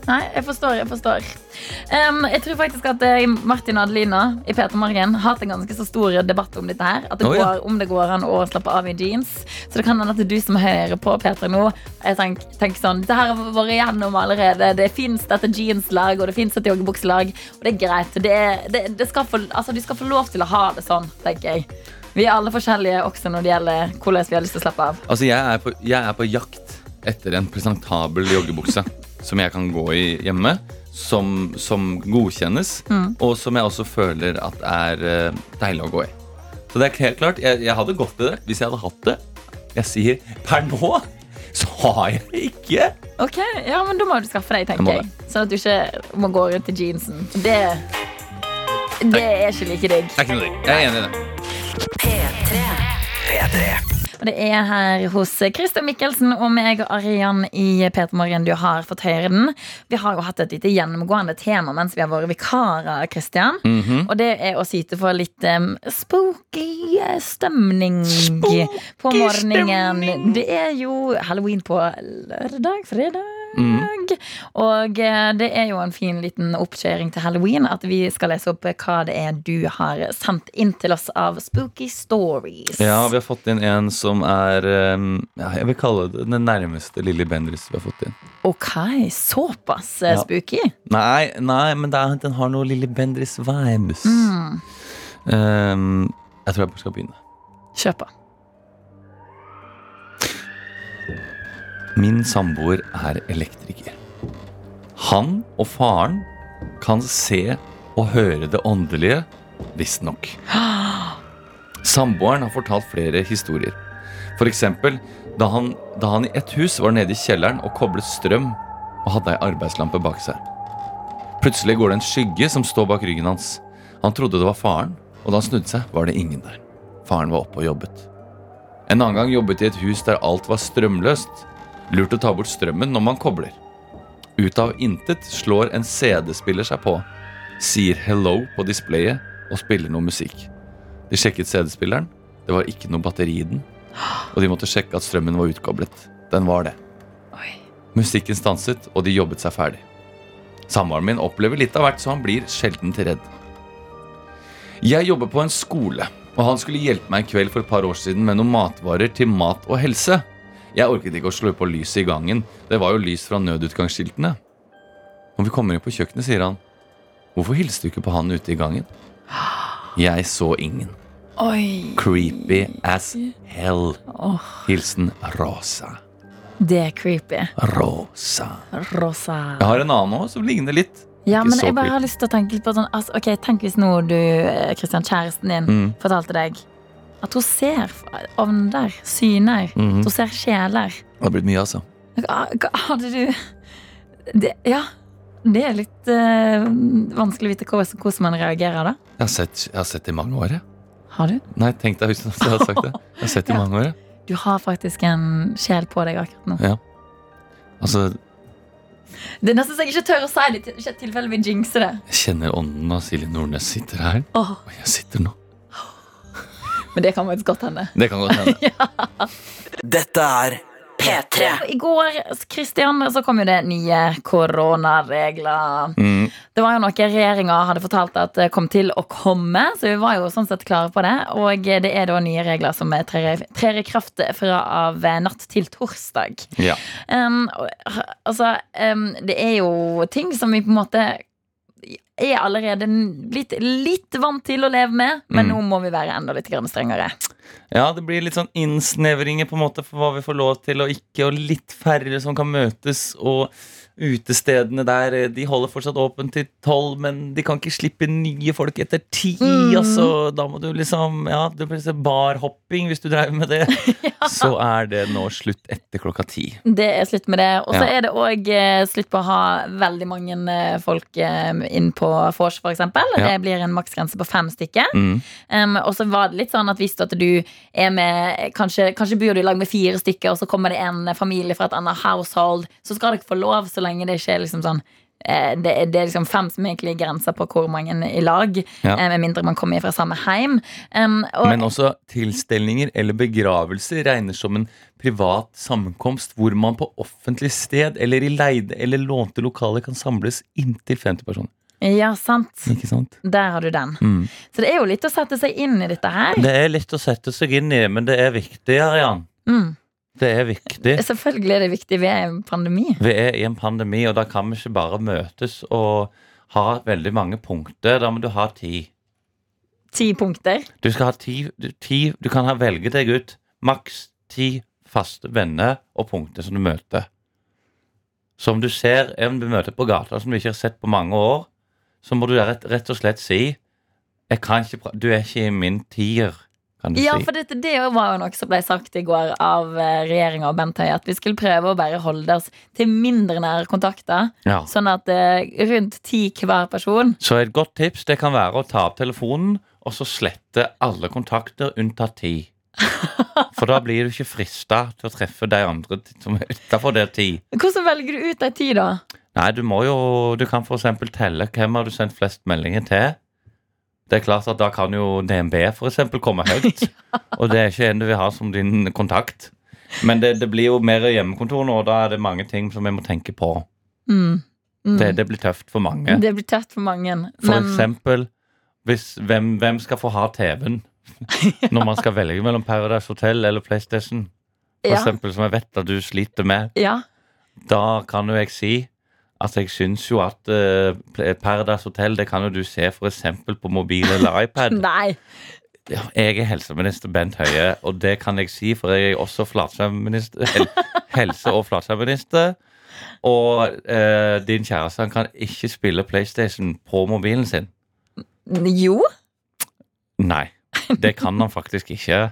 Nei, jeg forstår, jeg forstår. Em, jeg tror faktisk at eh, Martin og Adelina i Peter Morgen har hatt en ganske så stor debatt om dette her. At det
Å, ja.
går, om det går an å slappe av i jeans. Så det kan hende at du som hører på Peter nå, jeg tenk, tenker sånn Det her har vi vært igjennom allerede. Det fins dette jeanslag, og det fins et joggebukselag. Og det er greit. Det, det, det skal få, altså, du skal få lov til å ha det sånn, tenker jeg. Vi er alle forskjellige også når det gjelder hvordan vi har lyst til å slappe av.
Altså, jeg er, på, jeg er på jakt etter en presentabel joggebukse som jeg kan gå i hjemme. Som, som godkjennes, og som jeg også føler at er eh, deilig å gå i. Så det er helt klart, jeg, jeg hadde gått i det hvis jeg hadde hatt det. Jeg sier per nå så har jeg det ikke.
Ok, ja, men da må du skaffe deg,
Jeg må
tenker jeg. Sånn at du ikke må gå rundt i jeansen. Det, det er ikke like digg.
Det er ikke noe digg. Jeg er enig i det.
Og det er her hos Christer Mikkelsen og meg og Arian i P3 Morgen. Du har fått høre den. Vi har jo hatt et lite gjennomgående tema mens vi har vært vikarer, Christian. Og det er å syte for litt em, spooky eh, stemning på morgenen. Det er jo halloween på lørdag, fredag. Og eh, det er jo en fin liten oppkjøring til halloween at vi skal lese opp hva det er du har sendt inn til oss av spooky stories.
Ja, vi har fått inn en som er eh, ja, Jeg vil kalle det den nærmeste Lilly Bendriss vi har fått inn.
Ok, såpass eh,
Ja.
spooky.
Nei, nei men det er, den har noe Lille Bendris vibes.
Mm.
Ehm, jeg tror jeg bare skal begynne.
Kjør på.
Min samboer er elektriker. Han og faren kan se og høre det åndelige, visstnok. Samboeren har fortalt flere historier. For eksempel da han, da han i et hus var nede i kjelleren og koblet strøm og hadde ei arbeidslampe bak seg. Plutselig går det en skygge som står bak ryggen hans. Han trodde det var faren, og da han snudde seg, var det ingen der. Faren var oppe og jobbet. En annen gang jobbet de i et hus der alt var strømløst. Lurt å ta bort strømmen når man kobler. Ut av intet slår en CD-spiller seg på, sier hello på displayet og spiller noe musikk. De sjekket CD-spilleren, det var ikke noe batteri i den, og de måtte sjekke at strømmen var utkoblet. Den var det.
Oi.
Musikken stanset, og de jobbet seg ferdig. Samboeren min opplever litt av hvert, så han blir sjelden til redd. Jeg jobber på en skole, og han skulle hjelpe meg en kveld for et par år siden med noen matvarer til mat og helse. Jeg orket ikke å slå på lyset i gangen. Det var jo lys fra nødutgangsskiltene. Når vi kommer inn på kjøkkenet, sier han. Hvorfor hilste du ikke på han ute i gangen? Jeg så ingen.
Oi.
Creepy as hell.
Åh,
Hilsen Rosa.
det er creepy.
Rosa.
Rosa.
Jeg har en annen òg som ligner litt.
Ja,
Ikke
men
så
jeg bare
creepy.
har lyst til å tenke litt på sånn altså, Ok, tenk hvis nå du, eh, Christian, kjæresten din
Mm.
fortalte deg at hun ser ovner, syner,
Mm.
at hun ser sjeler.
Mm-hmm. Det har blitt mye, altså.
Hva- hva Hadde du det, Ja, det er litt eh, vanskelig å vite hva- hvordan man reagerer da.
Jeg har sett, jeg har sett det i mange år, jeg.
Har du?
Nei, tenk deg hvis jeg hadde sagt det. Jeg har sett det i
Ja.
mange år, jeg.
Du har faktisk en sjel på deg akkurat nå.
Altså,
Det er nesten så jeg ikke tør å si det, til- ikke i tilfelle vi jinxer det.
jeg kjenner ånden av Silje Nordnes sitter her.
Åh,
Og jeg sitter nå.
men det kan faktisk godt hende.
Det kan godt hende.
Dette er P3.
I går Christian, så kom jo det nye koronaregler.
Mm.
Det var jo noe regjeringa hadde fortalt at det kom til å komme, så vi var jo sånn sett klare på det. Og det er da nye regler som trer i- trer i kraft fra av natt til torsdag.
Ja.
Um, og, altså, um, det er jo ting som vi på en måte er allerede litt, litt vant til å leve med, men
Mm.
nå må vi være enda litt grann strengere.
Ja, det blir litt sånn innsnevringer på en måte for hva vi får lov til og ikke, og litt færre som kan møtes, og utestedene der, eh, de holder fortsatt åpent til tolv, men de kan ikke slippe nye folk etter ti,
Mm.
altså, da må du liksom, ja, du blir sånn barhopping hvis du driver med det, så er det nå slutt etter klokka ti.
Det er slutt med det. Og så
Ja.
er det òg slutt på å ha veldig mange eh, folk eh, inn på vors, f.eks. eksempel
Ja.
Det blir en maksgrense på fem stykker.
Mm.
Um, og så var det litt sånn at hvis at du er med Kanskje, kanskje bor du i lag med fire stykker, og så kommer det en eh, familie fra et annet household, så skal dere få lov så lenge det ikke er liksom sånn eh, det, er- det er liksom fem som egentlig er grensa på hvor mange i lag,
Ja.
eh, med mindre man kommer fra samme heim. Um, og,
Men også tilstelninger eller begravelser regnes som en privat sammenkomst hvor man på offentlig sted eller i leide eller lånte lokaler kan samles inntil 50 personer.
ja, sant.
Ikke sant?
Der har du den. Så det er jo litt å sette seg inn i dette her.
Mm. Det er lett å sette seg inn i, men det er viktig, Arian.
Mm.
Det er viktig.
Selvfølgelig er det viktig ved en pandemi.
Vi er i en pandemi, og da kan vi ikke bare møtes og ha veldig mange punkter. Da må du ha ti.
Ti punkter.
Du skal ha ti, du- ti Du kan ha velge deg ut maks ti faste venner og punkter som du møter. Som du ser en du møter på gata som du ikke har sett på mange år, så må du rett, rett og slett si jeg kan ikke, pra- Du er ikke i min tier, kan du
Ja,
si.
for dette, det var jo noe som ble sagt i går av regjeringa og Bent Høie, at vi skulle prøve å bare holde oss til mindre nære kontakter.
Ja.
Sånn at eh, rundt ti hver person.
Så et godt tips det kan være å ta opp telefonen og så slette alle kontakter unntatt ti. For da blir du ikke frista til å treffe de andre t- som er utafor der ti.
Hvordan velger du ut de ti, da?
Nei, du må jo Du kan f.eks. telle hvem har du sendt flest meldinger til. Det er klart at Da kan jo DNB for eksempel komme høyt, og det er ikke en du vil ha som din kontakt. Men det, det blir jo mer hjemmekontor nå, og da er det mange ting som vi må tenke på.
Mm. Mm.
Det, det blir tøft for mange.
Det blir tøft for mange.
For
men-
eksempel hvis, hvem, hvem skal få ha TV-en når man skal velge mellom Paradise Hotel eller PlayStation? For
ja,
eksempel, som jeg vet at du sliter med.
ja.
Da kan jo jeg si at jeg syns jo at eh, Pl- Paradise Hotel det kan jo du se for eksempel på mobil eller iPad.
Nei.
Ja, Jeg er helseminister Bent Høie, og det kan jeg si, for jeg er også flatskjermminister. Hel helse- og flatskjermminister. Og eh, din kjæreste han kan ikke spille PlayStation på mobilen sin.
Jo.
Nei, det kan han faktisk ikke.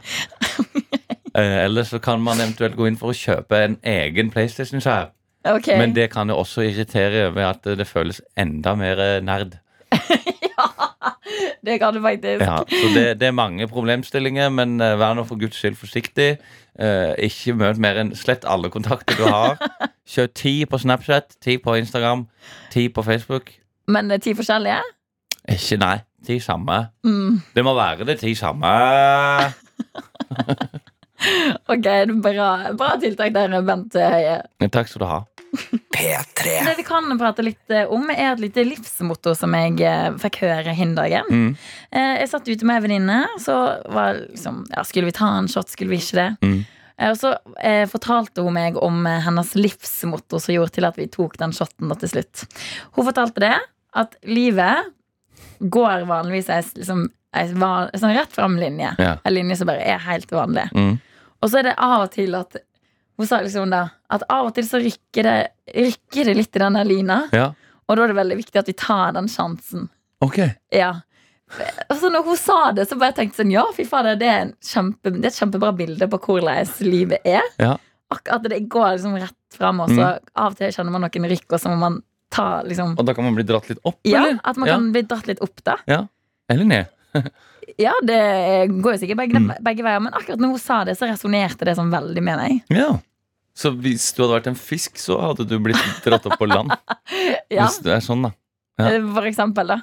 Eh, Eller så kan man eventuelt gå inn for å kjøpe en egen PlayStation-skjerm.
Ok.
Men det kan jo også irritere ved at det føles enda mer eh, nerd.
Det kan du faktisk.
Ja, så det, det er mange problemstillinger, men eh, vær nå for guds skyld forsiktig. Eh, Ikke møt mer enn slett alle kontakter du har. Kjør ti på Snapchat, ti på Instagram, ti på Facebook.
Men det er ti forskjellige?
Ikke nei, ti samme.
Mm.
Det må være det ti samme.
Ok, det er bra, bra tiltak der, Bent Høie.
Takk skal du ha.
P3.
Det vi kan prate litt eh, om, er et lite livsmotto som jeg eh, fikk høre hin dagen.
Mm.
Eh, Jeg satt ute med en venninne, så var det liksom ja, Skulle vi ta en shot, skulle vi ikke det?
Mm.
Eh, Og så eh, fortalte hun meg om eh, hennes livsmotto som gjorde til at vi tok den shotten da til slutt. Hun fortalte det at livet går vanligvis ei s- liksom, ei van, sånn rett fram-linje.
Ja.
En linje som bare er helt vanlig.
Mm.
Og så er det av og til at Hun sa liksom da at av og til så rykker det, rykker det litt i den der lina,
Ja.
og da er det veldig viktig at vi tar den sjansen.
Ok.
Ja. Altså, når hun sa det, så bare tenkte jeg sånn Ja, fy fader, det, er en kjempe, det er et kjempebra bilde på hvordan livet er.
Ja.
Akkurat det går liksom rett fram, og så av og til kjenner man noen rykk, og så må man ta liksom
Og da kan man bli dratt litt opp,
Ja,
eller?
at man kan bli dratt litt opp, da.
Eller ned.
Ja, det går jo sikkert begge,
Mm.
begge veier, men akkurat når hun sa det, så resonnerte det sånn veldig med meg.
Ja. Så hvis du hadde vært en fisk, så hadde du blitt dratt opp på land.
Ja.
Hvis det er sånn, da. Ja.
Eh, For eksempel, da.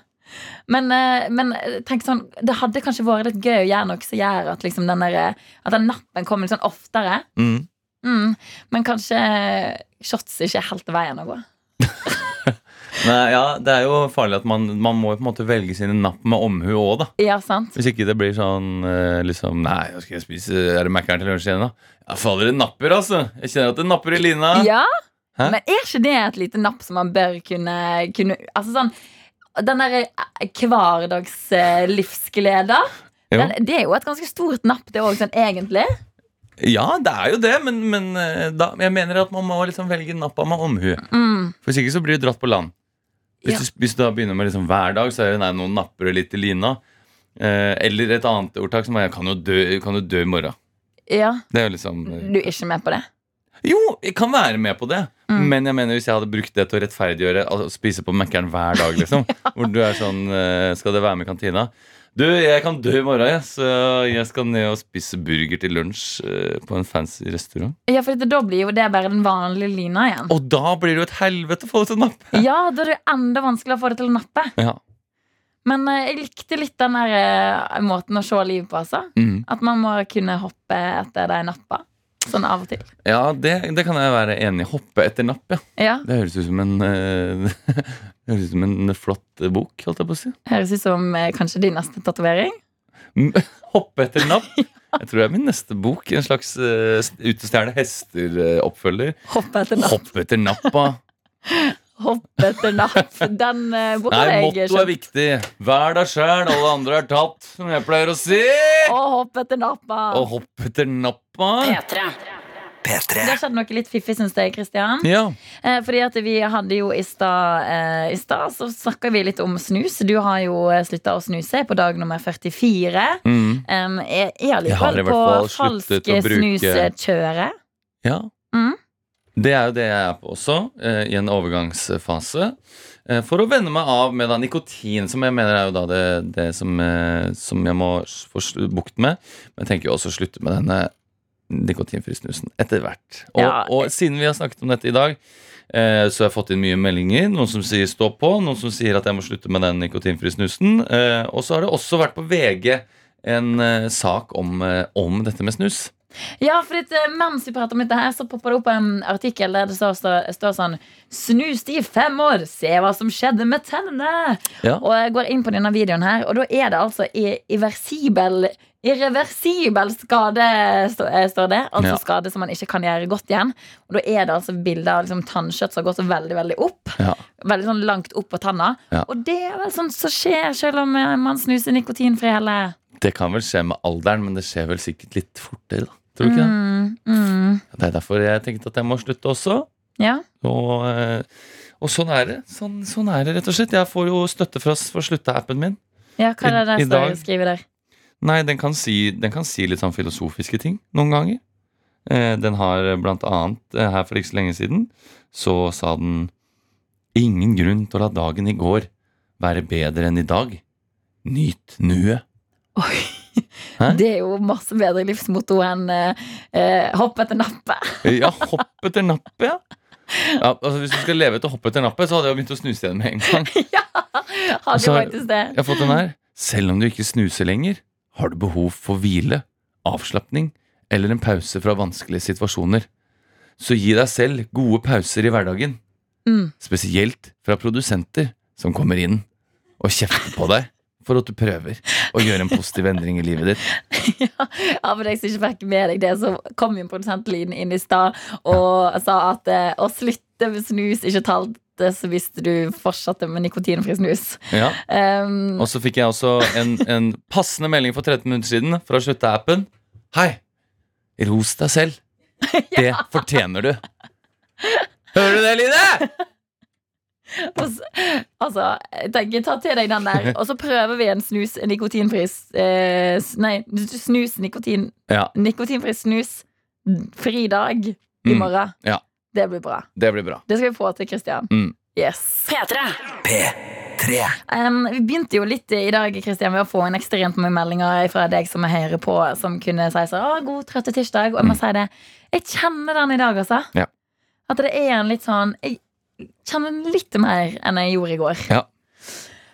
Men, eh, men eh, tenk sånn, det hadde kanskje vært litt gøy å gjøre noe som gjør at, liksom den, der, eh, at den nappen kommer litt sånn oftere.
Mm.
Mm. Men kanskje eh, shots ikke er helt veien å gå.
Nei, ja, det er jo farlig at man, man må jo på en måte velge sine napp med omhu òg, da.
Ja, sant?
Hvis ikke det blir sånn eh, liksom Nei, hva skal jeg spise? Er det Mækkern til lunsj igjen, da? Ja, fader, det napper, altså. Jeg kjenner at det napper i lina.
Ja,
Hæ?
Men er ikke det et lite napp som man bør kunne, kunne Altså sånn Den eh, derre hverdags eh, livsglede
Jo.
den, Det er jo et ganske stort napp, det òg, sånn egentlig.
Ja, det er jo det, men, men eh, da, jeg mener at man må liksom velge nappa med omhu.
Mm.
For hvis ikke så blir du dratt på land. Hvis,
Ja.
du, hvis du da begynner med liksom hver dag, så er det nei, noen napper det litt i lina. Eh, eller et annet ordtak som er kan jo dø, kan jo dø i morgen.
Ja,
Det er jo liksom
Du er ikke med på det?
Jo, jeg kan være med på det.
Mm.
Men jeg mener hvis jeg hadde brukt det til å rettferdiggjøre altså, å spise på Mækkern hver dag, liksom. Hvor du er sånn eh, Skal det være med i kantina? Du, jeg kan dø i morgen, jeg, så jeg skal ned og spise burger til lunsj eh, på en fancy restaurant.
Ja, for da blir jo det bare den vanlige lina igjen.
Og da blir det jo et helvete å få det til å nappe!
Ja, da er det jo enda vanskeligere å få det til å nappe.
Ja.
Men eh, jeg likte litt den der eh, måten å se livet på, altså.
Mm.
At man må kunne hoppe etter de nappa. Sånn av og til.
ja, det, det kan jeg være enig i. Hoppe etter napp, ja.
Ja,
Det høres ut som en eh, Det høres ut som en flott eh, bok, holdt jeg på å si.
Høres ut som eh, kanskje din neste tatovering.
Hoppe etter napp. Jeg tror det er min neste bok. En slags uh, Utestjerne hester-oppfølger.
Hoppe etter napp.
Hoppe etter nappa.
Hoppe etter napp. Den eh, boka
Nei,
har jeg
motto er
kjøpt.
viktig. Vær deg sjæl, alle andre er tatt, som jeg pleier å si.
Å, hoppe etter nappa.
Og hopp etter nappa.
Det
P3.
har skjedd noe litt fiffig, syns jeg, Kristian.
Ja.
Eh, fordi at vi hadde jo i stad eh, I stad så snakka vi litt om snus. Du har jo slutta å snuse på dag nummer 44.
Mm.
Um, jeg jeg er
Jeg har i
likevel
hvert
på
fall sluttet
falske
å bruke-
snuskjøret.
ja.
Mm.
Det er jo det jeg er på også, eh, i en overgangsfase. eh, For å venne meg av med da nikotin, som jeg mener er jo da det, det som, eh, som jeg må s- få sl- bukt med. Men jeg tenker jo også å slutte med denne nikotinfri snusen etter hvert. Og,
Ja.
og siden vi har snakket om dette i dag, eh, så har jeg fått inn mye meldinger. Noen som sier stå på, noen som sier at jeg må slutte med den nikotinfri snusen. eh, Og så har det også vært på VG en eh, sak om, eh, om dette med snus.
Ja, for at, eh, mens vi prater om dette her, så popper det opp en artikkel der det står, står, står sånn Snust i fem år, se hva som skjedde med tennene!
Ja.
Og jeg går inn på denne videoen her, og da er det altså i- irreversibel Irreversibel skade, stå- eh, står det. Altså
Ja.
skade som man ikke kan gjøre godt igjen. Og da er det altså bilder av liksom, tannkjøtt som har gått veldig veldig opp.
Ja.
Veldig sånn langt opp på tanna.
Ja.
Og det er vel sånt som skjer selv om eh, man snuser nikotinfri hele
Det kan vel skje med alderen, men det skjer vel sikkert litt fortere, da. Tror du ikke det?
Mm, mm.
Det er derfor jeg tenkte at jeg må slutte også.
Ja.
Og, eh, og sånn er det. Sånn, sånn er det, rett og slett. Jeg får jo støtte fra s- for slutta-appen min.
ja, hva er det
I- i
der
dag-
står skriver der?
Nei, den kan si, den kan si litt sånn filosofiske ting noen ganger. Eh, den har blant annet eh, her for ikke så lenge siden, så sa den Ingen grunn til å la dagen i går være bedre enn i dag. Nyt nuet.
Oi.
Hæ?
Det er jo masse bedre livsmotto enn eh, eh, hopp etter nappe.
Ja, hopp etter nappet, ja. ja altså, hvis du skal leve etter å hoppe etter nappet, så hadde jeg begynt å snuse igjen med en gang.
Hadde jo
Altså,
faktisk det.
Jeg har fått den her. Selv om du ikke snuser lenger, har du behov for hvile, avslapning eller en pause fra vanskelige situasjoner. Så gi deg selv gode pauser i hverdagen,
Mm.
spesielt fra produsenter som kommer inn og kjefter på deg for at du prøver å gjøre en positiv endring i livet ditt.
ja, ja, for deg som ikke fikk med deg det, så kom jo en produsent Lyn inn i stad og sa at eh, å slutte sluttet med snus, ikke talte, så hvis du fortsatte med nikotinfri snus.
Ja.
Um,
Og så fikk jeg også en, en passende melding for 13 minutter siden fra slutteappen. Hei! Ros deg selv. Det fortjener du. Hører du det, Line?
Og så- Altså, jeg tenker, ta til deg den der Og så prøver vi en snus en nikotinfri s- eh, s- Nei, snus nikotin
Ja.
Nikotinfri snus Fri dag i
Mm,
morgen
ja.
Det blir bra
Det blir bra.
Det skal vi få til, Kristian
Mm.
Yes
P3.
Em, Vi begynte jo litt i dag, Kristian Ved å få en ekstremt mange meldinger fra deg som er høyere på Som kunne si sånn, å, god trøtte tirsdag Og jeg må si det, jeg kjenner den i dag, altså
Mm. Ja.
At det er en litt sånn Jeg kjenner den litt mer enn jeg gjorde i går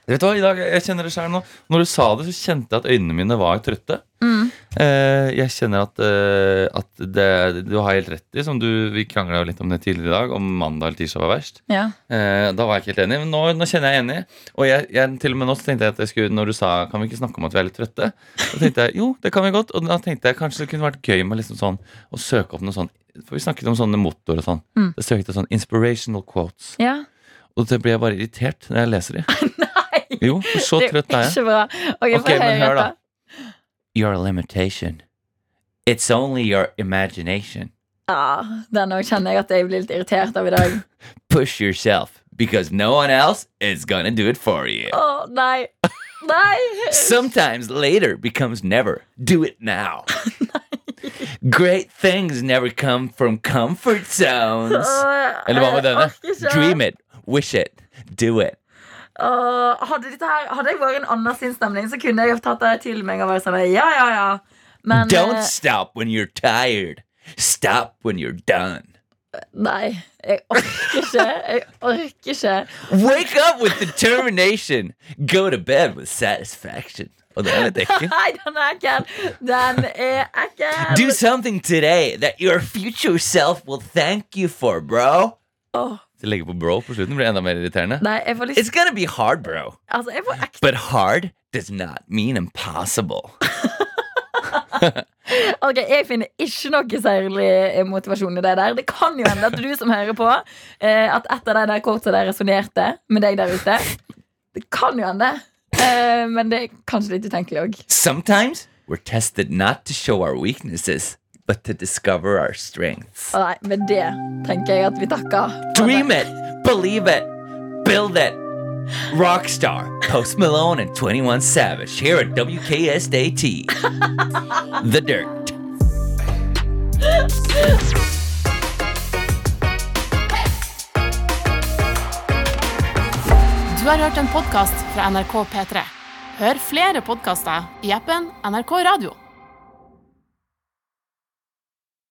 Vet du hva, i dag, jeg kjenner det selv nå Når du sa det, så kjente jeg at øynene mine var trøtte.
Mm
Eh, jeg kjenner at, eh, at det, du har helt rett i, som du, vi krangla litt om det tidligere i dag, om mandag eller tirsdag var verst.
Ja.
Eh, da var jeg ikke helt enig, men nå, nå kjenner jeg enig. Og jeg, jeg, til og med nå så tenkte jeg at jeg skulle, når du sa kan vi ikke snakke om at vi er litt trøtte, da tenkte jeg jo, det kan vi godt. Og da tenkte jeg kanskje det kunne vært gøy med liksom sånn, å søke opp noe sånn For vi snakket om sånne motor og sånn.
Mm.
Da søkte jeg sånn inspirational quotes.
Ja.
Og det blir jeg bare irritert når jeg leser de. Jo, for så
Det er jo
trøtt er jeg.
Ikke bra. Ok,
Ok,
få
men
høre
hør da.
etter.
Your limitation. It's only your imagination.
Ja, den òg kjenner jeg at jeg blir litt irritert av i dag.
push yourself because no one else is gonna do it for you.
Å, nei. Nei!
Sometimes later becomes never. Do it now. Great things never come from comfort zones. Eller hva med denne? Dream it, wish it, do it.
Åh, hadde, dette her, hadde jeg vært i en annen sinnsstemning, så kunne jeg tatt det til meg og vært sånn ja, ja, ja. Men
Don't
eh,
stop when you're tired. Stop when you're done.
Nei. Jeg orker ikke. Jeg orker ikke.
Wake up with determination. Go to bed with satisfaction. Og det er litt ekkelt.
Nei, den er ekkel. Den er ekkel.
Do something today that your future self will thank you for, bro.
Åh,
Det legger på bro på slutten, blir enda mer irriterende.
nei, jeg får
It's
lyst
gonna be hard, bro.
Altså, jeg får ekte
But hard does not mean impossible.
Ok, Jeg finner ikke noe særlig eh, motivasjon i det der. Det kan jo hende at du som hører på, eh, at et av de der kortene der resonnerte med deg der ute. Det kan jo hende. Eh, men det er kanskje litt utenkelig òg.
Sometimes we're tested not to show our weaknesses, but to discover our strengths.
Nei, med det tenker jeg at vi takker.
Dream it, believe it, build it. Rockstar, Post Malone, and 21 Savage here at WKSAT. the Dirt.
Du har hørt en podkast fra NRK P3. Hør flere podkaster i appen NRK Radio.